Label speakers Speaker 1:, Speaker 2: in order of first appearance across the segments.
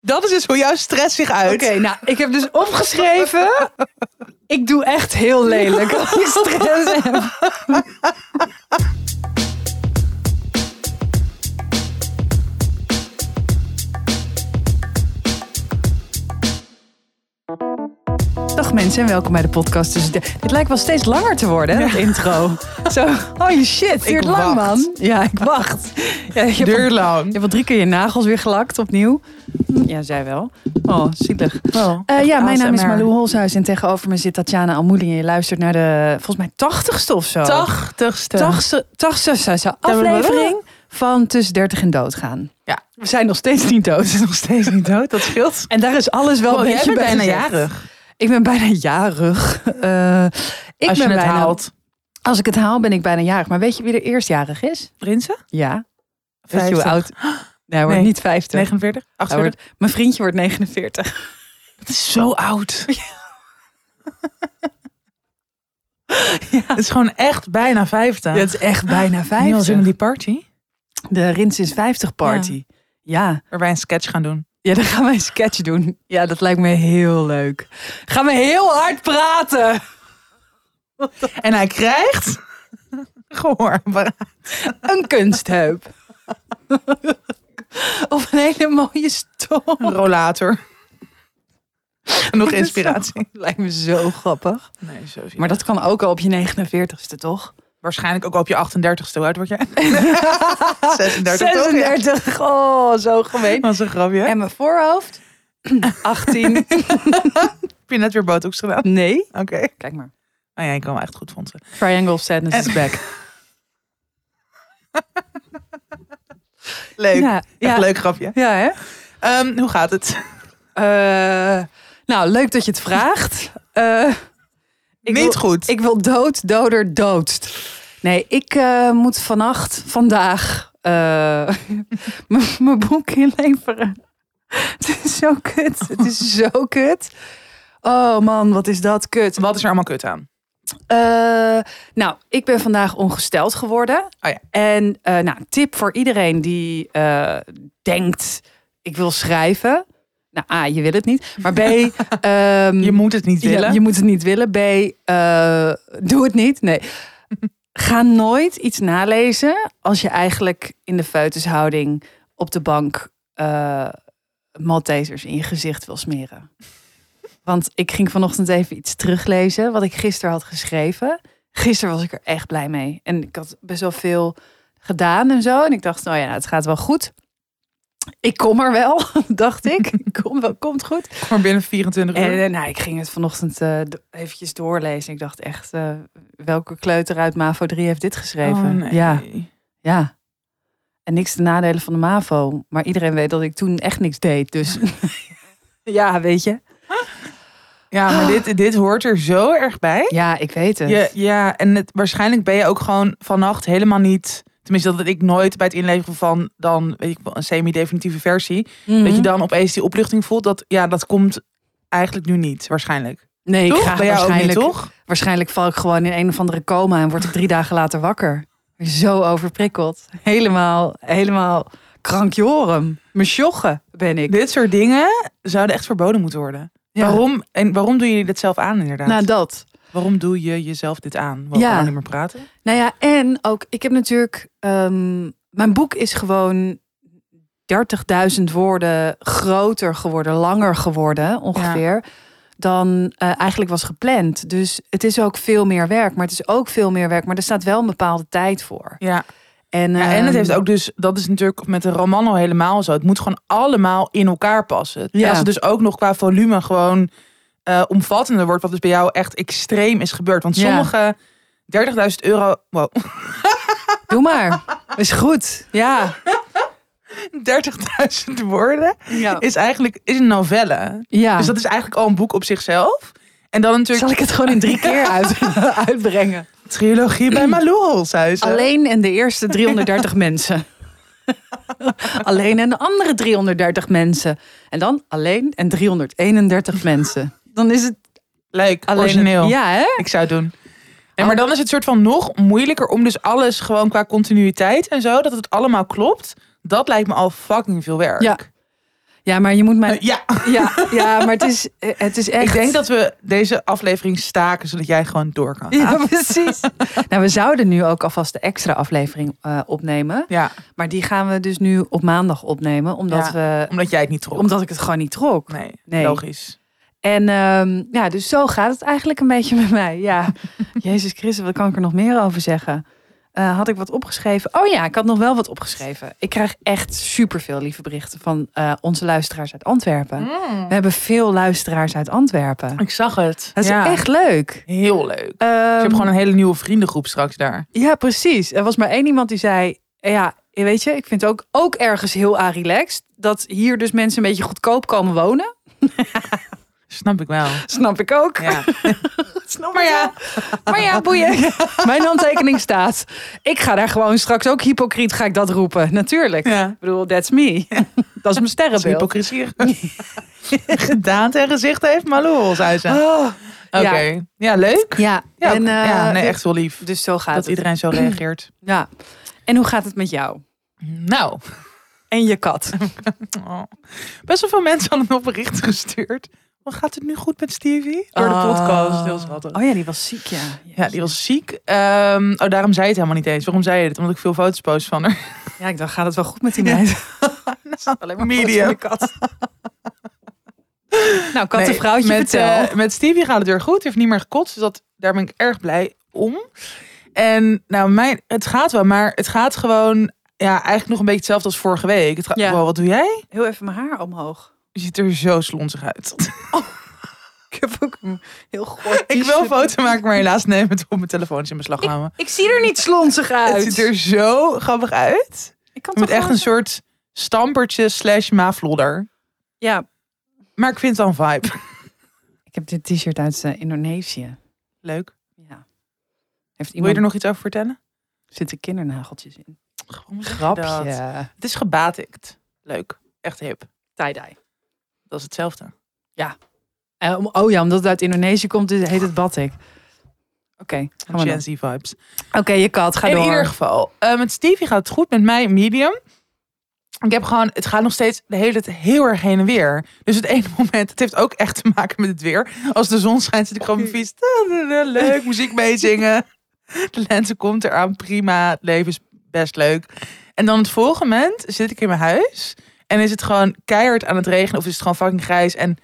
Speaker 1: Dat is dus hoe jouw stress zich uit.
Speaker 2: Oké, nou, ik heb dus opgeschreven. Ik doe echt heel lelijk als ik stress heb. Dag mensen en welkom bij de podcast. Dus de- dit lijkt wel steeds langer te worden, hè, dat intro. Zo, holy shit, het duurt lang
Speaker 1: wacht.
Speaker 2: man. Ja, ik wacht. Ja, je hebt al-
Speaker 1: Duur
Speaker 2: je
Speaker 1: lang.
Speaker 2: hebt al drie keer je nagels weer gelakt opnieuw. Ja, zij wel. Oh, zielig. Eh, ja, mijn naam is
Speaker 1: ASMR.
Speaker 2: Malou Holshuis en tegenover me zit Tatjana Almoeling. En je luistert naar de, volgens mij, tachtigste of zo.
Speaker 1: Tachtigste.
Speaker 2: Tachtigste- tachtigste aflevering van Tussen 30 en Doodgaan.
Speaker 1: Ja.
Speaker 2: We zijn nog steeds niet dood.
Speaker 1: Nog steeds niet dood, dat scheelt.
Speaker 2: En daar is alles wel
Speaker 1: Oh,
Speaker 2: een
Speaker 1: jij
Speaker 2: beetje
Speaker 1: bent
Speaker 2: bij
Speaker 1: bijna
Speaker 2: gezegd.
Speaker 1: jarig.
Speaker 2: Ik ben bijna jarig. Eh, ik
Speaker 1: Als
Speaker 2: ben
Speaker 1: je het
Speaker 2: bijna,
Speaker 1: haalt.
Speaker 2: Als ik het haal, ben ik bijna jarig. Maar weet je wie er eerstjarig is?
Speaker 1: Prinsen?
Speaker 2: Ja. Weet je hoe
Speaker 1: 50.
Speaker 2: oud? Nee, hij wordt
Speaker 1: Nee.
Speaker 2: niet 50.
Speaker 1: 49?
Speaker 2: Hij
Speaker 1: 48?
Speaker 2: wordt, mijn vriendje wordt 49.
Speaker 1: Dat is zo oud. Het is gewoon echt bijna 50.
Speaker 2: Dat is echt bijna
Speaker 1: Nu al
Speaker 2: 50.
Speaker 1: zin in die party.
Speaker 2: De Rins is 50 party. Ja.
Speaker 1: Waar wij een sketch gaan doen.
Speaker 2: ja, dan gaan wij een sketch doen. Ja, dat lijkt me heel leuk. Gaan we heel hard praten.
Speaker 1: En hij krijgt... Gehoor.
Speaker 2: Een kunstheup. of een hele mooie stok.
Speaker 1: Een rollator. Nog inspiratie.
Speaker 2: Lijkt me zo grappig.
Speaker 1: Nee, zo zie je.
Speaker 2: Maar dat kan ook al op je 49ste, toch?
Speaker 1: Waarschijnlijk ook op je 38ste. Hoe oud word jij? 36 toch? Ja.
Speaker 2: 36. Oh, zo gemeen.
Speaker 1: Dat is een grapje. Heb
Speaker 2: En mijn voorhoofd? 18.
Speaker 1: je net weer botox gedaan?
Speaker 2: Nee.
Speaker 1: Oké.
Speaker 2: Kijk maar.
Speaker 1: Nou ja, ik kan me echt goed fondsen.
Speaker 2: Triangle of Sadness is back.
Speaker 1: Leuk.
Speaker 2: Ja,
Speaker 1: Echt
Speaker 2: ja.
Speaker 1: leuk grapje.
Speaker 2: Ja, hè?
Speaker 1: Ehm, hoe gaat het?
Speaker 2: Eh, nou, leuk dat je het vraagt. Eh, ik
Speaker 1: Niet
Speaker 2: wil,
Speaker 1: goed.
Speaker 2: Ik wil dood, doder, doodst. Nee, ik eh, moet vannacht, vandaag, eh, m- mijn boek inleveren. Het is zo kut. Het is zo kut. Oh man, wat is dat kut.
Speaker 1: Wat is er allemaal kut aan?
Speaker 2: Eh, nou, ik ben vandaag ongesteld geworden.
Speaker 1: Oh ja.
Speaker 2: En eh nou, tip voor iedereen die eh, denkt, ik wil schrijven. Nou, A, je wil het niet. Maar B, ehm,
Speaker 1: Je moet het niet
Speaker 2: ja,
Speaker 1: willen.
Speaker 2: je moet het niet willen. B, eh, doe het niet. Nee. Ga nooit iets nalezen als je eigenlijk in de feutushouding op de bank eh Maltesers in je gezicht wil smeren. Want ik ging vanochtend even iets teruglezen wat ik gisteren had geschreven. Gisteren was ik er echt blij mee. En ik had best wel veel gedaan en zo. En ik dacht, nou ja, het gaat wel goed. Ik kom er wel, dacht ik. Ik Kom wel, komt goed.
Speaker 1: Maar binnen 24 uur.
Speaker 2: En, eh, nou, ik ging het vanochtend eh, do- eventjes doorlezen. Ik dacht echt, eh, welke kleuter uit MAVO 3 heeft dit geschreven?
Speaker 1: Oh, nee.
Speaker 2: Ja, ja. En niks de nadelen van de MAVO. Maar iedereen weet dat ik toen echt niks deed. Dus ja, weet je.
Speaker 1: Ja, maar dit, dit hoort er zo erg bij.
Speaker 2: Ja, ik weet het.
Speaker 1: Je, ja, en het, waarschijnlijk ben je ook gewoon vannacht helemaal niet... Tenminste, dat ik nooit bij het inleveren van dan, weet ik wel, een semi-definitieve versie.
Speaker 2: Mhm.
Speaker 1: Dat je dan opeens die opluchting voelt. Dat, ja, dat komt eigenlijk nu niet, waarschijnlijk.
Speaker 2: nee, ik
Speaker 1: toch?
Speaker 2: ga
Speaker 1: Bij jou ook niet,
Speaker 2: waarschijnlijk,
Speaker 1: toch?
Speaker 2: waarschijnlijk val ik gewoon in een of andere coma en word ik drie dagen later wakker. Zo overprikkeld. Helemaal, helemaal krankjorum. Mesjoggen ben ik.
Speaker 1: Dit soort dingen zouden echt verboden moeten worden.
Speaker 2: Ja.
Speaker 1: Waarom, en waarom doen jullie dit zelf aan inderdaad?
Speaker 2: Nou, dat.
Speaker 1: waarom doe je jezelf dit aan? Waarom
Speaker 2: Ja.
Speaker 1: kan ik niet meer praten?
Speaker 2: Nou ja, en ook, ik heb natuurlijk, ehm, mijn boek is gewoon 30.000 woorden groter geworden, langer geworden ongeveer, dan eh, eigenlijk was gepland. Dus het is ook veel meer werk, maar het is ook veel meer werk, maar er staat wel een bepaalde tijd voor.
Speaker 1: Ja.
Speaker 2: En,
Speaker 1: Ja, en het
Speaker 2: ehm,
Speaker 1: heeft ook dus, dat is natuurlijk met een roman al helemaal zo. Het moet gewoon allemaal in elkaar passen.
Speaker 2: Ja.
Speaker 1: Ja. Als het dus ook nog qua volume gewoon eh, omvattender wordt, wat dus bij jou echt extreem is gebeurd. Want
Speaker 2: Ja.
Speaker 1: sommige 30.000 euro, wow,
Speaker 2: Doe maar, is goed. Ja.
Speaker 1: 30.000 woorden
Speaker 2: ja.
Speaker 1: is eigenlijk is een novelle. Dus dat is eigenlijk al een boek op zichzelf. En dan natuurlijk
Speaker 2: Ah. Zal ik het gewoon in drie keer uit, uitbrengen?
Speaker 1: trilogie bij Malou Holshuizen.
Speaker 2: Alleen en de eerste 330 mensen. alleen en de andere 330 mensen. En dan alleen en 331 mensen. Dan is het
Speaker 1: Leuk,
Speaker 2: alleen.
Speaker 1: origineel.
Speaker 2: Ja, Oh. hè?
Speaker 1: Ik zou het doen. En maar dan is het soort van nog moeilijker om dus alles gewoon qua continuïteit en zo, dat het allemaal klopt. Dat lijkt me al fucking veel werk.
Speaker 2: Ja. Ja, maar je moet mij.
Speaker 1: Eh, ja,
Speaker 2: Ja, ja maar het is, eh, het is echt.
Speaker 1: ik denk dat we deze aflevering staken zodat jij gewoon door kan. gaan.
Speaker 2: Ja, precies. nou, we zouden nu ook alvast de extra aflevering eh, opnemen.
Speaker 1: Ja,
Speaker 2: Maar die gaan we dus nu op maandag opnemen, omdat,
Speaker 1: Ja.
Speaker 2: we,
Speaker 1: omdat jij het niet trok.
Speaker 2: omdat ik het gewoon niet trok.
Speaker 1: Nee,
Speaker 2: Nee.
Speaker 1: logisch.
Speaker 2: En ehm, ja, dus zo gaat het eigenlijk een beetje met mij. Ja, Jezus Christus, wat kan ik er nog meer over zeggen? Eh, had ik wat opgeschreven? Oh ja, ik had nog wel wat opgeschreven. Ik krijg echt superveel lieve berichten van eh, onze luisteraars uit Antwerpen. We hebben veel luisteraars uit Antwerpen.
Speaker 1: Ik zag het.
Speaker 2: Mm. Dat is
Speaker 1: Ja.
Speaker 2: echt leuk.
Speaker 1: heel leuk.
Speaker 2: Ehm,
Speaker 1: Ik heb gewoon een hele nieuwe vriendengroep straks daar.
Speaker 2: Ja, precies. Er was maar één iemand die zei... Ja, weet je, ik vind het ook, ook ergens heel relaxed... dat hier dus mensen een beetje goedkoop komen wonen.
Speaker 1: Snap ik wel.
Speaker 2: Snap ik ook.
Speaker 1: Ja.
Speaker 2: Snap
Speaker 1: Maar
Speaker 2: ik
Speaker 1: ja.
Speaker 2: wel. Maar ja, boeien. Mijn handtekening staat. Ik ga daar gewoon straks ook hypocriet ga ik dat roepen. Natuurlijk.
Speaker 1: ja.
Speaker 2: Ik bedoel, that's me. Dat is
Speaker 1: Dat
Speaker 2: mijn
Speaker 1: is
Speaker 2: sterrenbeeld.
Speaker 1: hypocrisie. Gedaante en gezicht heeft Maloels uit. Oké.
Speaker 2: Oh, ja.
Speaker 1: Ja. leuk.
Speaker 2: Ja,
Speaker 1: Ja,
Speaker 2: en,
Speaker 1: ook- ja
Speaker 2: eh,
Speaker 1: nee,
Speaker 2: dit-
Speaker 1: echt wel lief.
Speaker 2: Dus zo gaat
Speaker 1: Dat
Speaker 2: het.
Speaker 1: iedereen zo reageert.
Speaker 2: Ja. En hoe gaat het met jou?
Speaker 1: Nou,
Speaker 2: En je kat?
Speaker 1: oh. best wel veel mensen hadden nog berichten gestuurd. Wat gaat het nu goed met Stevie? Door de podcast, heel schattig.
Speaker 2: Oh ja, die was ziek, ja.
Speaker 1: Ja, die was ziek. Ehm, oh, daarom zei je het helemaal niet eens. Waarom zei je dit? Omdat ik veel foto's post van haar.
Speaker 2: Ja, ik dacht, gaat het wel goed met die meid? Alleen maar foto's
Speaker 1: medium.
Speaker 2: van de kat. nou, kattenvrouwtje,
Speaker 1: Nee, met,
Speaker 2: vertel.
Speaker 1: eh, met Stevie gaat het weer goed. Hij heeft niet meer gekotst, dus dat, daar ben ik erg blij om. En nou, mijn, het gaat wel, maar het gaat gewoon... Ja, eigenlijk nog een beetje hetzelfde als vorige week. Het gaat,
Speaker 2: Ja.
Speaker 1: wow, wat doe jij?
Speaker 2: Heel even mijn haar omhoog.
Speaker 1: Je ziet er zo slonzig uit.
Speaker 2: Ik heb ook een heel goor
Speaker 1: ik wil foto maken, maar helaas neem het op mijn telefoon is in beslag genomen.
Speaker 2: Ik zie er niet slonzig uit.
Speaker 1: Het ziet er zo grappig uit.
Speaker 2: Ik kan
Speaker 1: Je moet
Speaker 2: toch
Speaker 1: echt
Speaker 2: gewoon
Speaker 1: een
Speaker 2: zo-
Speaker 1: soort stampertje slash maflodder.
Speaker 2: Ja,
Speaker 1: Maar ik vind het dan vibe.
Speaker 2: ik heb dit t-shirt uit eh, Indonesië.
Speaker 1: Leuk.
Speaker 2: Ja. Heeft
Speaker 1: Wil je
Speaker 2: iemand...
Speaker 1: er nog iets over vertellen?
Speaker 2: Zitten kindernageltjes in.
Speaker 1: Grapje. Het is gebatikt. Leuk. Echt hip.
Speaker 2: Tie-dye.
Speaker 1: Dat is hetzelfde. Oké.
Speaker 2: Eh, om- oh ja, omdat het uit Indonesië komt, dus heet het batik. Oké, gaan we
Speaker 1: Gen
Speaker 2: dan.
Speaker 1: Z vibes.
Speaker 2: Oké, je kat, ga
Speaker 1: In
Speaker 2: door.
Speaker 1: ieder geval. eh, met Stevie gaat het goed. Met mij medium. Ik heb gewoon, het gaat nog steeds de hele tijd heel erg heen en weer. Dus het ene moment, het heeft ook echt te maken met het weer. Als de zon schijnt, zit ik gewoon op mijn fiets. Leuk, muziek meezingen. De lente komt eraan, prima. Het leven is best leuk. En dan het volgende moment zit ik in mijn huis. En is het gewoon keihard aan het regenen of is het gewoon fucking grijs. En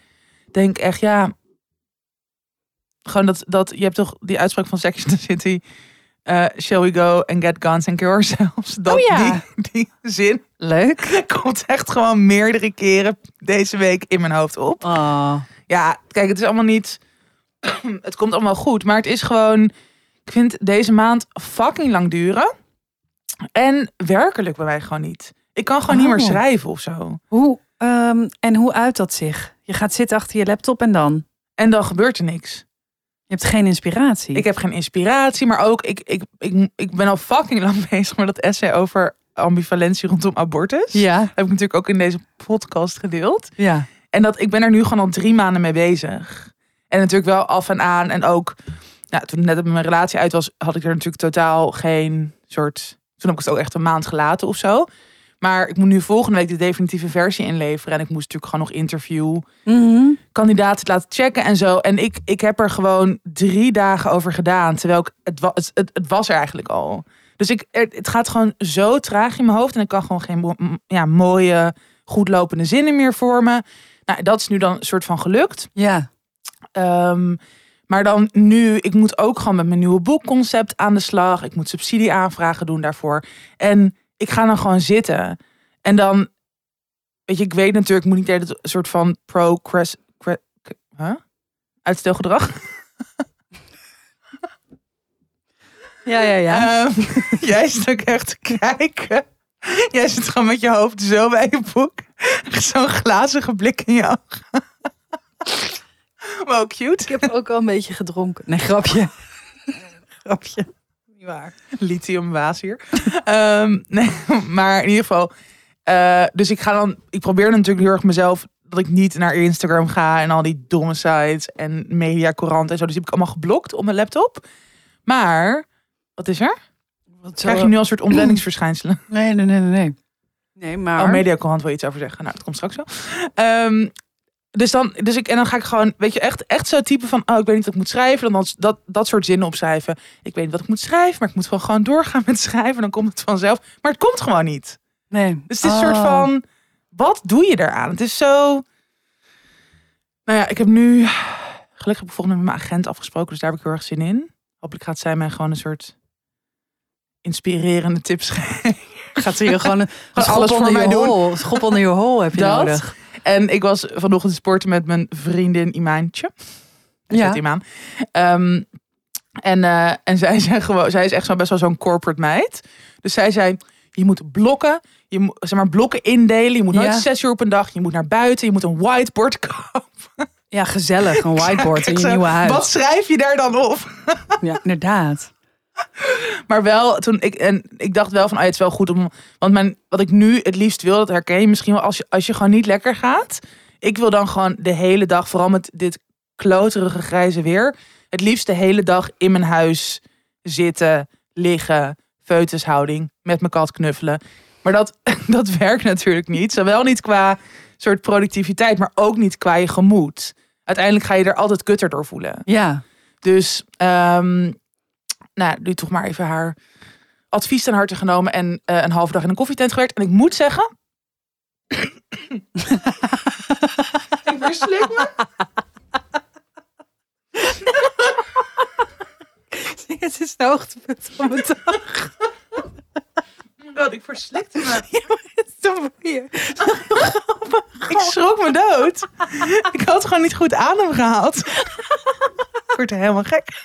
Speaker 1: denk echt, ja... Gewoon dat, dat, je hebt toch die uitspraak van Sex and the City... eh, shall we go and get guns and kill ourselves? Dat,
Speaker 2: Oh ja.
Speaker 1: die, die zin
Speaker 2: Leuk.
Speaker 1: komt echt gewoon meerdere keren deze week in mijn hoofd op.
Speaker 2: Oh.
Speaker 1: Ja, kijk, het is allemaal niet. het komt allemaal goed, maar het is gewoon. Ik vind deze maand fucking lang duren. En werkelijk bij mij gewoon niet. Ik kan gewoon niet meer
Speaker 2: Oh.
Speaker 1: schrijven of zo.
Speaker 2: Hoe, ehm, en hoe uit dat zich? Je gaat zitten achter je laptop en dan?
Speaker 1: En dan gebeurt er niks.
Speaker 2: Je hebt geen inspiratie.
Speaker 1: Ik heb geen inspiratie, maar ook ik, ik, ik, ik ben al fucking lang bezig met dat essay over ambivalentie rondom abortus.
Speaker 2: Ja,
Speaker 1: Heb ik natuurlijk ook in deze podcast gedeeld.
Speaker 2: ja.
Speaker 1: En dat ik ben er nu gewoon al drie maanden mee bezig. En natuurlijk wel af en aan. En ook, nou, toen het net met mijn relatie uit was, had ik er natuurlijk totaal geen soort. Toen heb ik het ook echt een maand gelaten of zo. Maar ik moet nu volgende week de definitieve versie inleveren. En ik moest natuurlijk gewoon nog interview
Speaker 2: Mhm.
Speaker 1: kandidaten laten checken en zo. En ik, ik heb er gewoon drie dagen over gedaan. Terwijl ik, het, wa- het, het, het was er eigenlijk al. Dus ik, het, het gaat gewoon zo traag in mijn hoofd. En ik kan gewoon geen mo- m- ja, mooie, goedlopende zinnen meer vormen. Nou, dat is nu dan een soort van gelukt.
Speaker 2: Ja.
Speaker 1: Ehm, maar dan nu, ik moet ook gewoon met mijn nieuwe boekconcept aan de slag. Ik moet subsidieaanvragen doen daarvoor. En ik ga dan gewoon zitten. En dan, weet je, ik weet natuurlijk, ik moet niet de hele tijd een soort van pro huh? uitstelgedrag.
Speaker 2: Ja, ja, ja.
Speaker 1: Ehm, jij zit ook echt te kijken. Jij zit gewoon met je hoofd zo bij je boek. Echt Zo'n glazige blik in je ogen. Maar ook cute.
Speaker 2: ik heb ook al een beetje gedronken. Nee, grapje. grapje. Niet waar.
Speaker 1: lithiumwaas hier. Ehm, nee, maar in ieder geval. eh, dus ik ga dan. Ik probeer natuurlijk heel erg mezelf. Dat ik niet naar Instagram ga en al die domme sites en mediacourant en zo. Dus die heb ik allemaal geblokt op mijn laptop. Maar, wat is er?
Speaker 2: Wat
Speaker 1: Krijg je nu al een soort ontwenningsverschijnselen?
Speaker 2: Nee, nee, nee, nee. nee. Nee, maar...
Speaker 1: Oh, mediacourant wil je iets over zeggen. Nou, dat komt straks wel. Ehm, dus dan, dus ik, en dan ga ik gewoon, weet je, echt, echt zo typen van, oh, ik weet niet wat ik moet schrijven. Dan als- dat, dat soort zinnen opschrijven. Ik weet niet wat ik moet schrijven, maar ik moet wel gewoon doorgaan met schrijven. Dan komt het vanzelf. Maar het komt gewoon niet.
Speaker 2: nee.
Speaker 1: Dus het is
Speaker 2: Oh.
Speaker 1: een soort van, wat doe je eraan? Het is zo... Nou ja, ik heb nu... Gelukkig heb ik volgende week met mijn agent afgesproken, dus daar heb ik heel erg zin in. Hopelijk gaat zij mij gewoon een soort inspirerende tips geven.
Speaker 2: Gaat ze hier gewoon een
Speaker 1: Gaat
Speaker 2: schop
Speaker 1: alles voor
Speaker 2: onder
Speaker 1: mij
Speaker 2: je
Speaker 1: doen.
Speaker 2: hol. een Schop onder je hol heb je
Speaker 1: Dat?
Speaker 2: nodig.
Speaker 1: En ik was vanochtend sporten met mijn vriendin Imaantje.
Speaker 2: Ja.
Speaker 1: Ja. Imaan. Ehm, en eh, en zij, zei gewoon, zij is echt zo best wel zo'n corporate meid. Dus zij zei, je moet blokken. Je moet, zeg maar, blokken indelen. Je moet nooit
Speaker 2: Ja.
Speaker 1: zes uur op een dag. Je moet naar buiten. Je moet een whiteboard kopen.
Speaker 2: Ja, gezellig. Een whiteboard
Speaker 1: Ik
Speaker 2: in je
Speaker 1: zei,
Speaker 2: nieuwe huis.
Speaker 1: Wat schrijf je daar dan op?
Speaker 2: Ja, inderdaad.
Speaker 1: Maar wel, toen ik, en ik dacht wel van, oh ja, het is wel goed om... Want mijn, wat ik nu het liefst wil, dat herken je misschien wel als je, als je gewoon niet lekker gaat. Ik wil dan gewoon de hele dag, vooral met dit kloterige grijze weer... het liefst de hele dag in mijn huis zitten, liggen, feutushouding, met mijn kat knuffelen. Maar dat, dat werkt natuurlijk niet. Zowel niet qua soort productiviteit, maar ook niet qua je gemoed. Uiteindelijk ga je er altijd kutter door voelen.
Speaker 2: Ja.
Speaker 1: Dus ehm nou, nu toch maar even haar advies ten harte genomen en eh, een halve dag in een koffietent gewerkt. En ik moet zeggen. ik verslik me.
Speaker 2: Het is de hoogtepunt van mijn dag.
Speaker 1: Oh my God, ik verslikte me.
Speaker 2: Het is zo moeilijk.
Speaker 1: Ik schrok me dood. Ik had gewoon niet goed adem gehaald. Ik word er helemaal gek.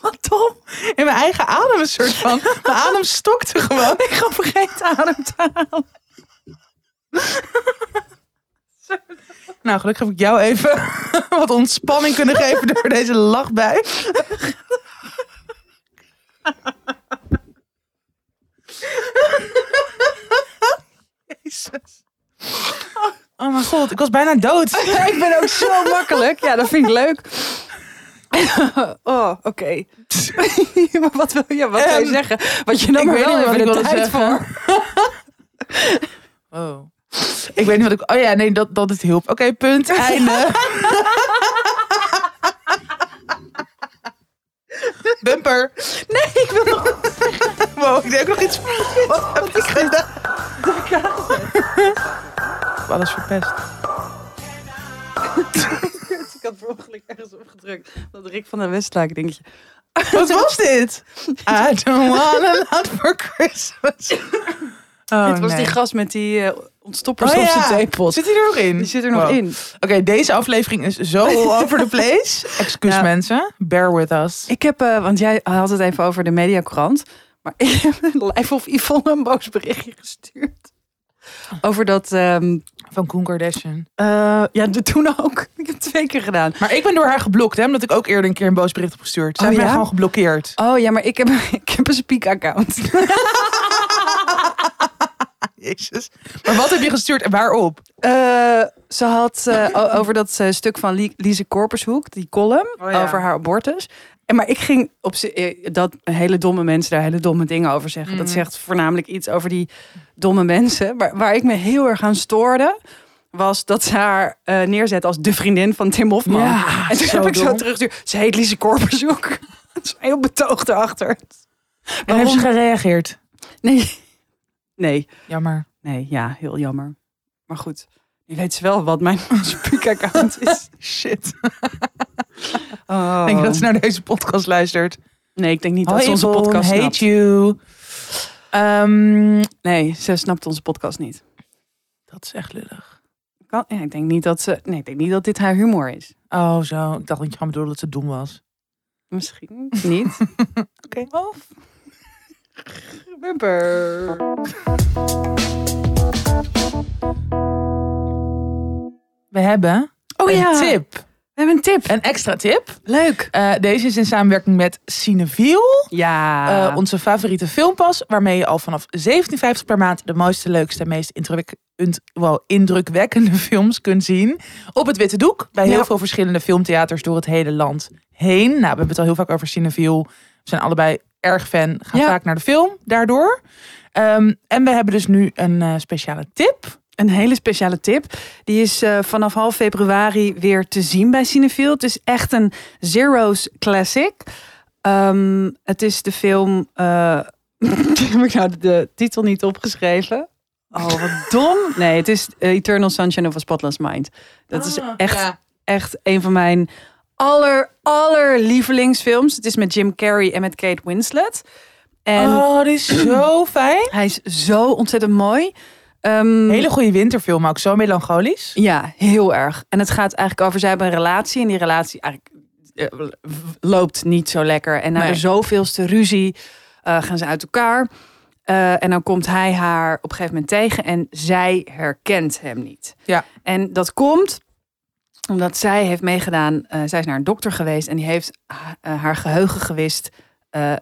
Speaker 2: Wat dom.
Speaker 1: In mijn eigen adem een soort van. Mijn adem stokte gewoon.
Speaker 2: Ik ga vergeten adem te halen.
Speaker 1: Nou, gelukkig heb ik jou even wat ontspanning kunnen geven door deze lachbui. Jezus. Oh mijn god, ik was bijna dood.
Speaker 2: ik ben ook zo makkelijk. Ja, dat vind ik leuk. Oh, oké. maar wat wil je, wat wil je
Speaker 1: Ehm,
Speaker 2: zeggen? Wat je dan
Speaker 1: ik
Speaker 2: maar
Speaker 1: weet
Speaker 2: wel
Speaker 1: niet wat ik
Speaker 2: even de
Speaker 1: wilde
Speaker 2: tijd
Speaker 1: zeggen.
Speaker 2: voor.
Speaker 1: Oh. Ik weet niet wat ik... Oh ja, nee, dat, dat het hielp. Oké, punt. Einde. Bumper.
Speaker 2: Nee, ik wil nog
Speaker 1: Wow, ik denk nog iets. Wat heb ik gedaan? Alles verpest.
Speaker 2: Ik had per ongeluk ergens opgedrukt. Dat Rick van der Westlaak dingetje.
Speaker 1: Wat was dit? I don't want a lot for Christmas. Oh,
Speaker 2: Dit was
Speaker 1: nee.
Speaker 2: die gast met die eh, ontstoppers
Speaker 1: Oh,
Speaker 2: op
Speaker 1: ja.
Speaker 2: zijn theepot.
Speaker 1: Zit hij er nog in?
Speaker 2: Die zit er nog
Speaker 1: Wow.
Speaker 2: in.
Speaker 1: Oké, deze aflevering is zo all over the place. Excuus
Speaker 2: Nou.
Speaker 1: mensen. Bear with us.
Speaker 2: Ik heb, eh, want jij had het even over de mediakrant. Maar ik heb een live of Yvonne een boos berichtje gestuurd. Over dat, ehm,
Speaker 1: Van Koen Kardashian.
Speaker 2: eh, ja, de toen ook. Ik heb het twee keer gedaan.
Speaker 1: Maar ik ben door haar geblokt, hè, omdat ik ook eerder een keer een boos bericht heb gestuurd. Zij
Speaker 2: Oh,
Speaker 1: heeft mij
Speaker 2: ja?
Speaker 1: gewoon geblokkeerd.
Speaker 2: Oh ja, maar ik heb, ik heb een speak-account.
Speaker 1: Ah, Jezus. Maar wat heb je gestuurd en waarop?
Speaker 2: Eh, ze had eh, o- over dat eh, stuk van Lie- Lise Korpershoek, die column
Speaker 1: Oh ja.
Speaker 2: over haar abortus. En, maar ik ging op ze- eh, dat hele domme mensen daar hele domme dingen over zeggen.
Speaker 1: Mhm.
Speaker 2: Dat zegt voornamelijk iets over die domme mensen. Maar waar ik me heel erg aan stoorde, was dat ze haar eh, neerzet als de vriendin van Tim Hofman.
Speaker 1: Ja,
Speaker 2: en toen
Speaker 1: zo
Speaker 2: heb ik zo
Speaker 1: dom.
Speaker 2: teruggestuurd. Ze heet Lise Korpershoek. Ze heel betoogd erachter.
Speaker 1: En
Speaker 2: Waarom?
Speaker 1: heeft ze gereageerd?
Speaker 2: Nee. Nee.
Speaker 1: Jammer.
Speaker 2: Nee, ja, heel jammer. Maar goed, nu weet ze wel wat mijn speak-account is.
Speaker 1: Shit.
Speaker 2: Oh.
Speaker 1: Ik denk dat ze naar deze podcast luistert.
Speaker 2: Nee, ik denk niet
Speaker 1: Hoi,
Speaker 2: dat ze onze
Speaker 1: Yvonne,
Speaker 2: podcast
Speaker 1: hate
Speaker 2: snapt.
Speaker 1: you. Ehm,
Speaker 2: Nee, ze snapt onze podcast niet.
Speaker 1: dat is echt lullig.
Speaker 2: Kan, ja, ik denk niet dat ze. Nee, ik denk niet dat dit haar humor is.
Speaker 1: Oh, zo. Ik dacht dat je gewoon bedoelde dat ze dom was.
Speaker 2: Misschien niet.
Speaker 1: Oké.
Speaker 2: Of. Bumper.
Speaker 1: We hebben
Speaker 2: Oh
Speaker 1: een
Speaker 2: ja,
Speaker 1: tip.
Speaker 2: we hebben een tip.
Speaker 1: Een extra tip.
Speaker 2: Leuk.
Speaker 1: Eh, deze is in samenwerking met Cineviel.
Speaker 2: Ja.
Speaker 1: Eh, onze favoriete filmpas, waarmee je al vanaf 17,50 per maand de mooiste, leukste en meest indruk- und- wow, indrukwekkende films kunt zien. Op het witte doek, bij heel
Speaker 2: Ja.
Speaker 1: veel verschillende filmtheaters door het hele land heen. Nou, we hebben het al heel vaak over Cineville. We zijn allebei erg fan, gaan
Speaker 2: Ja.
Speaker 1: vaak naar de film daardoor. Ehm, en we hebben dus nu een eh, speciale tip.
Speaker 2: Een hele speciale tip. Die is eh, vanaf half februari weer te zien bij Cinefield. Het is echt een Zero's classic. Ehm, het is de film... eh, heb ik nou de titel niet opgeschreven? Oh, wat dom. Nee, het is eh, Eternal Sunshine of a Spotless Mind. Dat
Speaker 1: Ah,
Speaker 2: is echt, echt een van mijn aller, aller lievelingsfilms. Het is met Jim Carrey en met Kate Winslet. En
Speaker 1: oh, die is zo fijn.
Speaker 2: hij is zo ontzettend mooi. Ehm,
Speaker 1: Hele goede winterfilm, ook zo melancholisch.
Speaker 2: ja, heel erg. En het gaat eigenlijk over, zij hebben een relatie. En die relatie eigenlijk eh, w- loopt niet zo lekker. En na
Speaker 1: Nee.
Speaker 2: de zoveelste ruzie eh, gaan ze uit elkaar. Eh, en dan komt hij haar op een gegeven moment tegen. En zij herkent hem niet.
Speaker 1: Ja.
Speaker 2: En dat komt omdat zij heeft meegedaan. eh, zij is naar een dokter geweest. En die heeft ha- eh, haar geheugen gewist. eh,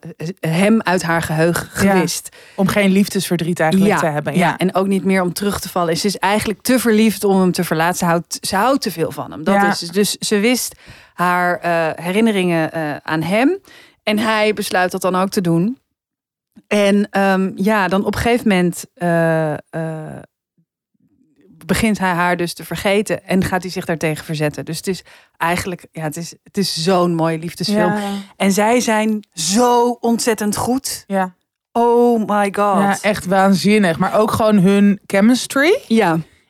Speaker 2: hem uit haar geheugen
Speaker 1: Ja.
Speaker 2: gewist.
Speaker 1: Om geen liefdesverdriet eigenlijk te hebben. Ja.
Speaker 2: Ja, en ook niet meer om terug te vallen. Ze is eigenlijk te verliefd om hem te verlaten. Ze houdt, ze houdt te veel van hem. Dat
Speaker 1: Ja.
Speaker 2: is het. Dus ze wist haar eh, herinneringen eh, aan hem. En hij besluit dat dan ook te doen. En ehm, ja, dan op een gegeven moment eh, eh, begint hij haar dus te vergeten. En gaat hij zich daartegen verzetten. Dus het is eigenlijk, ja, het is, het is zo'n mooie liefdesfilm.
Speaker 1: Ja.
Speaker 2: En zij zijn zo ontzettend goed.
Speaker 1: Ja.
Speaker 2: Oh my god. Ja.
Speaker 1: ja, eh, echt waanzinnig. Maar ook gewoon hun chemistry.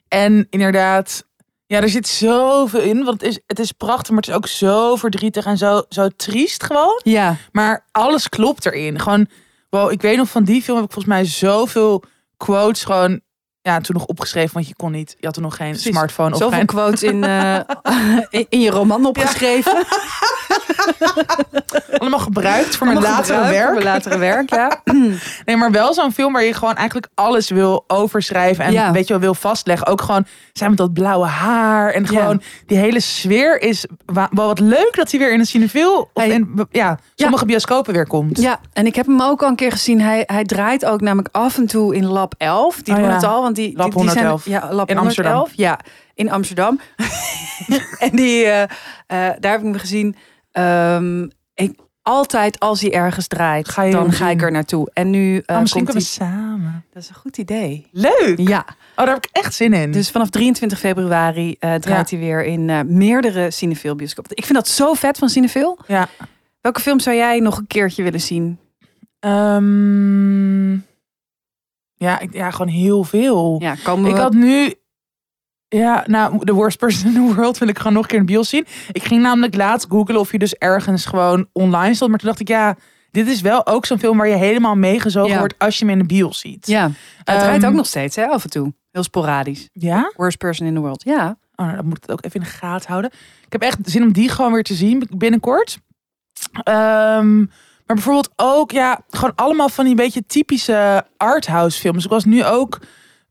Speaker 1: En inderdaad, ja, er zit zoveel in. Want het is, het is prachtig, maar het is ook zo verdrietig en zo, zo triest gewoon.
Speaker 2: Ja.
Speaker 1: Maar alles klopt erin. Gewoon, wow, ik weet nog van die film heb ik volgens mij zoveel quotes gewoon, ja, toen nog opgeschreven. Want je kon niet, je had toen nog geen
Speaker 2: Precies.
Speaker 1: smartphone of
Speaker 2: Zoveel
Speaker 1: geen...
Speaker 2: quotes in, eh, in, in je roman opgeschreven.
Speaker 1: Allemaal gebruikt voor mijn
Speaker 2: Allemaal
Speaker 1: latere
Speaker 2: gebruikt
Speaker 1: werk.
Speaker 2: Voor mijn latere werk, ja.
Speaker 1: Nee, maar wel zo'n film waar je gewoon eigenlijk alles wil overschrijven en
Speaker 2: Ja.
Speaker 1: weet je wel, wil vastleggen. Ook gewoon zijn met dat blauwe haar en
Speaker 2: Ja.
Speaker 1: gewoon die hele sfeer is wa- wel wat leuk dat hij weer in een cinefiel of
Speaker 2: Hey.
Speaker 1: in ja, sommige bioscopen weer komt.
Speaker 2: ja, en ik heb hem ook al een keer gezien. Hij, hij draait ook namelijk af en toe in lab 11. Die
Speaker 1: Oh
Speaker 2: doen
Speaker 1: ja.
Speaker 2: het al, want die,
Speaker 1: Lab
Speaker 2: die, die zijn-
Speaker 1: 111.
Speaker 2: ja, lab
Speaker 1: In
Speaker 2: 111.
Speaker 1: Amsterdam.
Speaker 2: Ja, in Amsterdam. en die, eh, eh, daar heb ik hem gezien. Ehm, ik, altijd als hij ergens draait,
Speaker 1: Ga je
Speaker 2: dan
Speaker 1: hem
Speaker 2: ga ik
Speaker 1: zien.
Speaker 2: er naartoe. En nu eh,
Speaker 1: Ah, misschien
Speaker 2: komt
Speaker 1: kunnen
Speaker 2: hij...
Speaker 1: we samen.
Speaker 2: Dat is een goed idee.
Speaker 1: Leuk.
Speaker 2: Ja.
Speaker 1: Oh, daar heb ik echt zin in.
Speaker 2: Dus vanaf 23 februari eh, draait hij weer in eh, meerdere Cinefil bioscopen. Ik vind dat zo vet van Cinefil.
Speaker 1: ja.
Speaker 2: Welke film zou jij nog een keertje willen zien?
Speaker 1: Ehm, ja, ik, ja, gewoon heel veel.
Speaker 2: Ja, komen we...
Speaker 1: Ik had nu. Ja, nou, The Worst Person in the World wil ik gewoon nog een keer in de bios zien. Ik ging namelijk laatst googlen of je dus ergens gewoon online stond. Maar toen dacht ik, ja, dit is wel ook zo'n film waar je helemaal meegezogen
Speaker 2: Ja.
Speaker 1: wordt als je hem in de bios ziet.
Speaker 2: Ja, het draait
Speaker 1: Ehm,
Speaker 2: ook nog steeds hè, af en toe. Heel sporadisch.
Speaker 1: Ja?
Speaker 2: Worst person in the world. Ja.
Speaker 1: Oh, nou, dan moet ik het ook even in de gaten houden. Ik heb echt zin om die gewoon weer te zien binnenkort. Ehm, maar bijvoorbeeld ook, ja, gewoon allemaal van die beetje typische arthouse films. Ik was nu ook